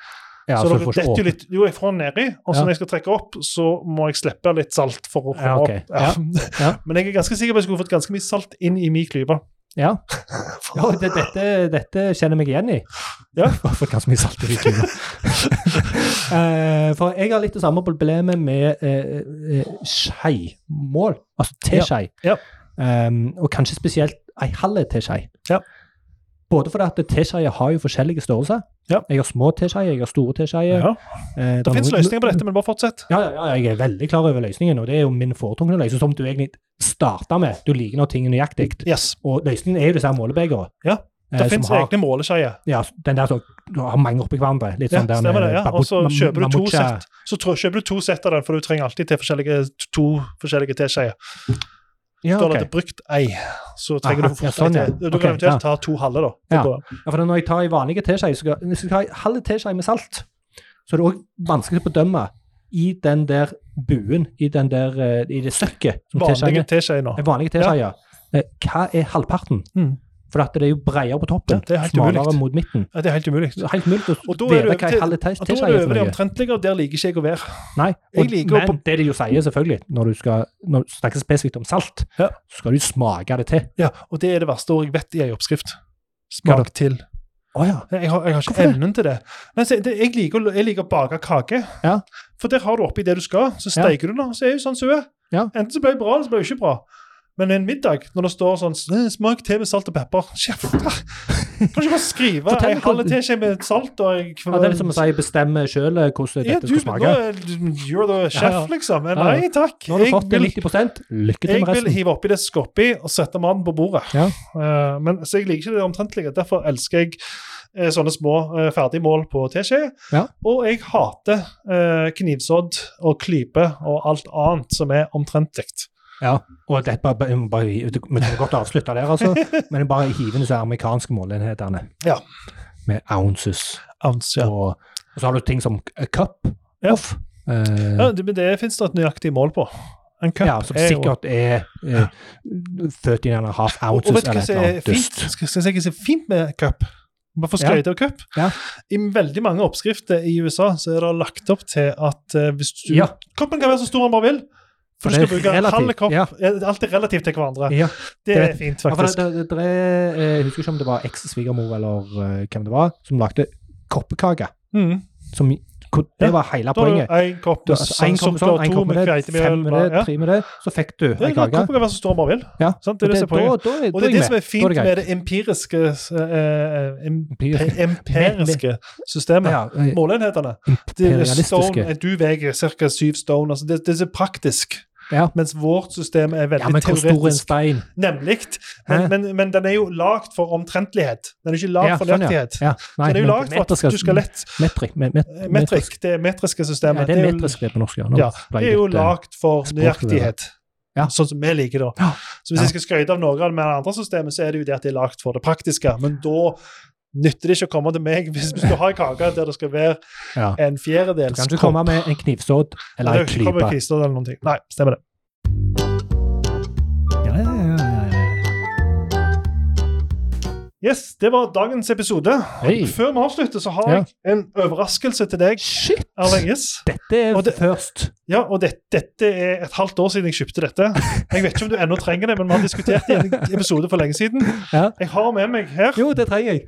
Ja,
så
så du
det
får ikke
detter jo
åpne.
litt Jo, jeg får den nedi, og så
Ja.
når jeg skal trekke opp, så må jeg slippe litt salt for å få
Ja, ok.
opp. Ja.
Ja.
Men jeg er ganske sikker på at jeg skulle fått ganske mye salt inn i min klype.
Ja. ja og det, dette, dette kjenner jeg meg igjen i.
Ja.
Jeg har fått ganske mye salt i klypa. Eh, For jeg har litt det samme problemet med eh, eh, skeimål, altså teskei.
Ja, ja.
Ehm, og kanskje spesielt ei halv teskei.
Ja.
Både fordi at teskeier har jo forskjellige størrelser.
Ja.
Jeg har små teskeier, jeg har store teskeier.
Ja.
Eh,
Det fins
noen-
løsninger på dette, men bare fortsett.
Ja, ja, ja, jeg er veldig klar over løsningen, og det er jo min foretrukne løsning, som du egentlig starta med. Du liker når ting er nøyaktig.
Yes.
Og løsningen er jo disse her målebegeret.
Ja,
eh,
Det
som
fins
har-
egne måleskeier.
Ja, den der som har mange oppi hverandre. Litt
Ja,
sånn der
stemmer det. ja.
babu-
Og så
mam-
kjøper du to
mamucha.
sett Så trå- kjøper du to sett av den, for du trenger alltid til forskjellige, to forskjellige teskeier.
Ja,
Står det
ok.
at det er brukt ei, så trenger
Aha,
du
ja, sånn, ja.
Du kan
Ok, ja.
eventuelt ta to halve, da. Det
Ja.
går an.
ja, for når jeg tar en vanlig teskje, så skal jeg ha en halv teskje med salt. Så er det òg vanskelig å bedømme i den der buen, i, den der, eh, i det søkket som
Vanlige
teskjene
teskjeer nå.
En vanlig teskje, ja. Eh, Hva er halvparten?
Mm.
For at det er jo bredere på toppen,
Ja, det er helt
smalere
umulig.
mot midten.
Ja, Det er helt umulig.
Det er Helt mulig å
Og da er du
vite
over
hva
til-
en halv tes-
Og Da
teskje
er
er
du
for
over det
noe.
omtrentlige, og der liker ikke jeg å være.
Nei,
Jeg
og,
liker å
men det de jo sier, selvfølgelig, når du, skal, når du snakker spesifikt om salt,
Ja.
så skal du smake det til.
Ja, Og det er det verste ordet jeg vet i ei oppskrift.
Hva da?
Smak til.
Å ja.
Jeg har, jeg har ikke
Hvorfor det?
evnen til det. Nei, se, det jeg, liker, å- jeg liker å bake kake.
Ja.
For der har du oppi det du skal, så
Ja.
steiker du den, og så er jo sånn som hun er.
Ja.
Enten så ble det bra, eller så ble det ikke bra. Men en middag, når det står sånn "S- Smak te med salt og pepper. Kjeft! Kan du ikke bare skrive
Fortell
ei
meg
halv
hvordan-
teskje med salt og en kv-
ja. Det er litt som å si bestemme sjøl hvordan
ja,
dette
du,
skal
nå
smake.
er du- You're the chef,
Ja, ja.
liksom. Men
Ja, ja.
Nei takk.
Nå har du fått
vil,
90 Lykke til
jeg
med
vil
resten.
hive oppi det som skal oppi, og sette mannen på bordet.
Ja.
Eh, men, så jeg liker ikke det omtrentlige. Derfor elsker jeg eh, sånne små eh, ferdigmål på teskje.
Ja.
Og jeg hater eh, knivsodd og klype og alt annet som er omtrentlig.
Ja. Og det, er bare, bare- bare, vi kan godt avslutte der, altså. Men bare hive disse amerikanske måleenhetene.
Ja.
Med ounces.
Ounce, ja.
Og, og så har du ting som a cup
Ja.
off. Eh,
ja. det- Men det fins det et nøyaktig mål på. En cup
ja, som
er jo
sikkert er eh, 13 and a half
Og, og
ounces
vet du
eller
hva
et
som
eller
er
annet
fint?
dust.
Skal, skal jeg si hva som er fint med cup? Bare for
Ja.
skøyte av cup.
Ja.
I veldig mange oppskrifter i USA så er det lagt opp til at eh, hvis du
Ja.
Koppen kan være så stor den bare vil. For du
Det er
skal bruke en
relativt,
halv kopp.
ja.
Eh, Alt er relativt til hverandre.
Ja.
Det
det
er
vet-
fint,
Ja, for det,
faktisk.
det, det er, eh, jeg husker ikke om det var eks-svigermor eller eh, hvem det var, som lagde koppekake.
Mm.
Som, hvor- det var hele
Da eh, har du
poenget.
én kopp
Du,
med
altså, en kopp med
sandsukker,
sånn, en
to
kopp
med
med det,
kveitemel
fem med
bla,
det,
ja.
tre med det, så fikk du
Det
ei
er klart,
kake.
Koppen kan være så stor den bare vil.
Ja.
Sant? Det er
og
det som er poenget.
Da, da,
Og det er det som er fint
greit.
med det empiriske eh, eh, em-
Empiriske.
empiriske systemet.
Ja, eh,
Måleenhetene. Det er stone,
Imperialistiske.
eh, du veier ca. syv stone. Altså det, det er så praktisk.
Ja.
Mens vårt system er
Ja,
veldig
men hvor stor en
teoretisk.
stein?
Nemlig. Men,
Hæ?
men, men den er jo lagd for omtrentlighet. Den er ikke lagd
Ja,
for
sånn, ja.
nøyaktighet.
Ja, nei,
Den er jo
men
lagd for
metrisk,
at du skal lett
Metrisk. me- met-
Metrisk, det metriske
Ja,
systemet.
det er
jo-
metrisk det på norsk, ja. Nå
Ja,
ble
det
jeg
er jo
litt, eh,
lagd for
språk-
nøyaktighet.
Ja.
Sånn som vi liker det.
Ja.
Så hvis
Ja.
jeg skal skryte av noe av det andre systemet, så er det jo det at det er lagd for det praktiske. Men da nytter det ikke å komme til meg hvis du har en kake der det skal være
ja.
en
Du
fjerdedels
kan ikke komme med en knivsådd eller en
Eller
klype.
kommer kvister eller noen ting. Nei, stemmer det.
Ja, ja, ja, ja, ja.
Yes, det var dagens episode.
Hei.
Før vi avslutter, så har
Ja.
jeg en overraskelse til deg,
Shit!
Erling Giss.
Dette er
Og det-
først.
Ja, og det, dette er et halvt år siden jeg kjøpte dette. Jeg vet ikke om du ennå trenger det, men vi har diskutert det i en episode for lenge siden.
Ja.
Jeg har med meg her
Jo, det trenger jeg.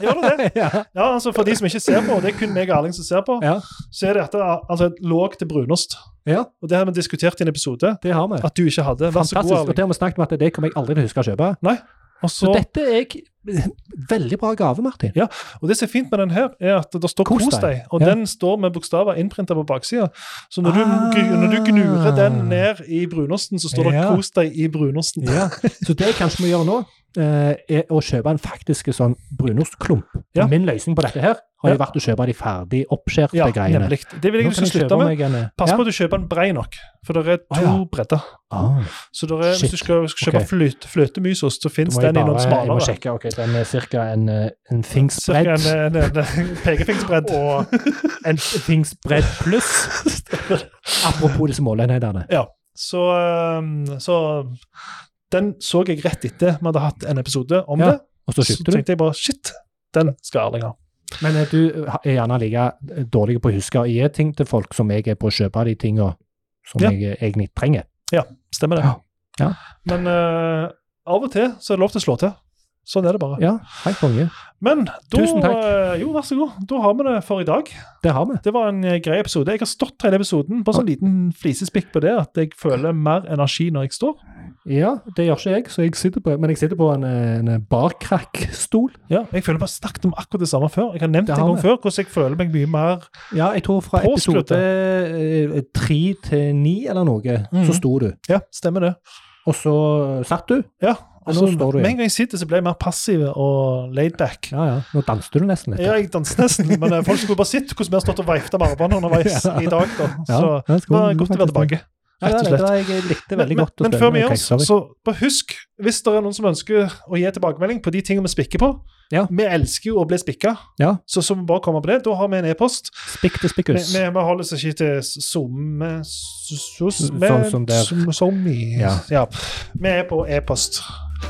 Gjør du det?
ja.
Ja, altså For de som ikke ser på, og det er kun meg og Erling som ser på,
Ja.
så er dette altså, et låg til brunost.
ja,
Og det har vi diskutert i en episode
det har vi.
at du ikke hadde. Vær så
Fantastisk.
god,
Og det
Erling.
har vi snakket om at det kommer jeg aldri til å huske å kjøpe.
Og,
Så,
så,
dette er jeg- veldig bra gave, Martin.
og det som er fint med den her, er at det står
Kos
'kos
deg.
deg', og
Ja.
den står med bokstaver innprinta på baksida. Så når du,
Ah.
når du gnurer den ned i brunosten, så står det
Ja.
'kos deg i brunosten'.
Så det kanskje vi gjør nå, eh, er å kjøpe en faktisk sånn brunostklump.
Ja.
Min løsning på dette her har
Ja.
jo vært å kjøpe de ferdig oppskjærte
Ja,
greiene.
nemlig. Det vil jeg
Nå
du skal
kan
slutte
kjøpe
med.
meg en, eh,
Pass
ja.
på at du kjøper en brei nok, for det er to
Å, ja.
bredder.
Ah,
Så det er, hvis du
Shit.
skal, skal kjøpe
Ok.
fløt, fløtemysost, så
da
fins
må jeg
den i
bare
noen
jeg må
smalere.
sjekke. ok, den er ca. en, eh, en
Cirka
fingsbredd.
En, eh, en, en, en pekefingersbredd.
Og en fingsbredd pluss. Apropos disse måleenhetene.
Så, um, så den så jeg rett etter vi hadde hatt en episode om
Ja,
det.
Og så
Så
kjøpte du.
tenkte jeg bare shit, den skal Erling ha.
Men eh, du er gjerne like eh, dårlig på å huske å gi ting til folk som jeg er på å kjøpe de tinga som
Ja.
jeg egentlig trenger.
Stemmer det.
Ja. Ja.
Men eh, av og til så er det lov til å slå til. Sånn er det bare.
Ja, helt konge.
Men da
Tusen takk.
eh, Jo, vær så god. Da har vi det for i dag.
Det har vi.
Det var en eh, grei episode. Jeg har stått hele episoden på sånn liten flisespikk på det at jeg føler mer energi når jeg står.
Ja, det gjør ikke jeg, så jeg sitter på, men jeg sitter på en, eh, en barkrakkstol.
Ja, Jeg føler bare snakket om akkurat det samme før. Jeg har nevnt
Det
det
har
en gang
vi.
før hvordan jeg føler meg mye mer
Ja, jeg tror fra
Påskrudd,
episode eh, tre til ni eller noe,
Mhm.
så sto du.
Ja, stemmer det.
Og så satt du.
Ja,
Men nå
altså,
står du igjen.
Med en gang jeg sitter, så blir jeg mer passiv og laid back.
Ja, ja. Nå danste du nesten litt.
Ja, jeg danser nesten, men eh, folk skulle bare sett hvordan vi har stått og veifta med armene underveis
Ja.
i dag. da.
Ja,
Så
ja, det
det
skulle
var
du
godt å være
faktisk
tilbake,
Ja,
rett og
det-
slett.
det- Jeg likte veldig
Men,
godt å
men
spille
før vi
med
gjør
Keiservik.
oss, så bare husk, hvis det er noen som ønsker å gi tilbakemelding på de tingene vi spikker på
Ja.
Vi elsker jo å bli spikka,
Ja.
så, så vi bare kommer på det. Da har vi en e-post.
Spikk til
Vi,
spikkus.
vi, vi holder oss ikke til SoMe
Sånn som der.
Ja.
Ja.
ja. Vi er på e-post.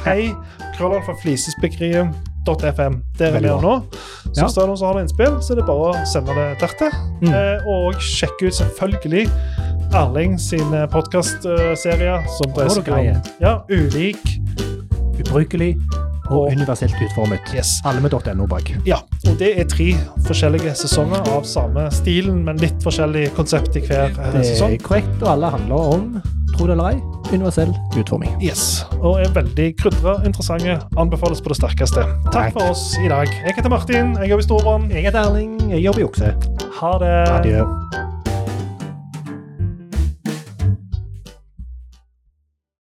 Hei, krøllalfaflisespikkeriet.fm. Der er vi
Veldig bra.
nå. Så
Ja.
hvis det er noen som har noen innspill, så er det bare å sende det dertil.
Mm.
Eh, og sjekke ut selvfølgelig Erling sine podkastserier eh, som
Nå er
dreier
du
seg om
greie.
ja, ulik
Mm. Ubrukelig og
Og-
universelt utformet.
Yes.
Alle med .no bak.
Ja, og det er tre forskjellige sesonger av samme stilen, men litt forskjellig konsept i hver eh,
Det
sesong.
er korrekt, og alle handler om, tro det eller ei, universell utforming.
Yes, og er veldig krydra, interessante. Anbefales på det sterkeste. Takk
Takk.
for oss i dag. Jeg heter Martin, jeg jobber i Storbrann.
Jeg heter Erling, jeg jobber i Okse.
Ha det.
Adjø.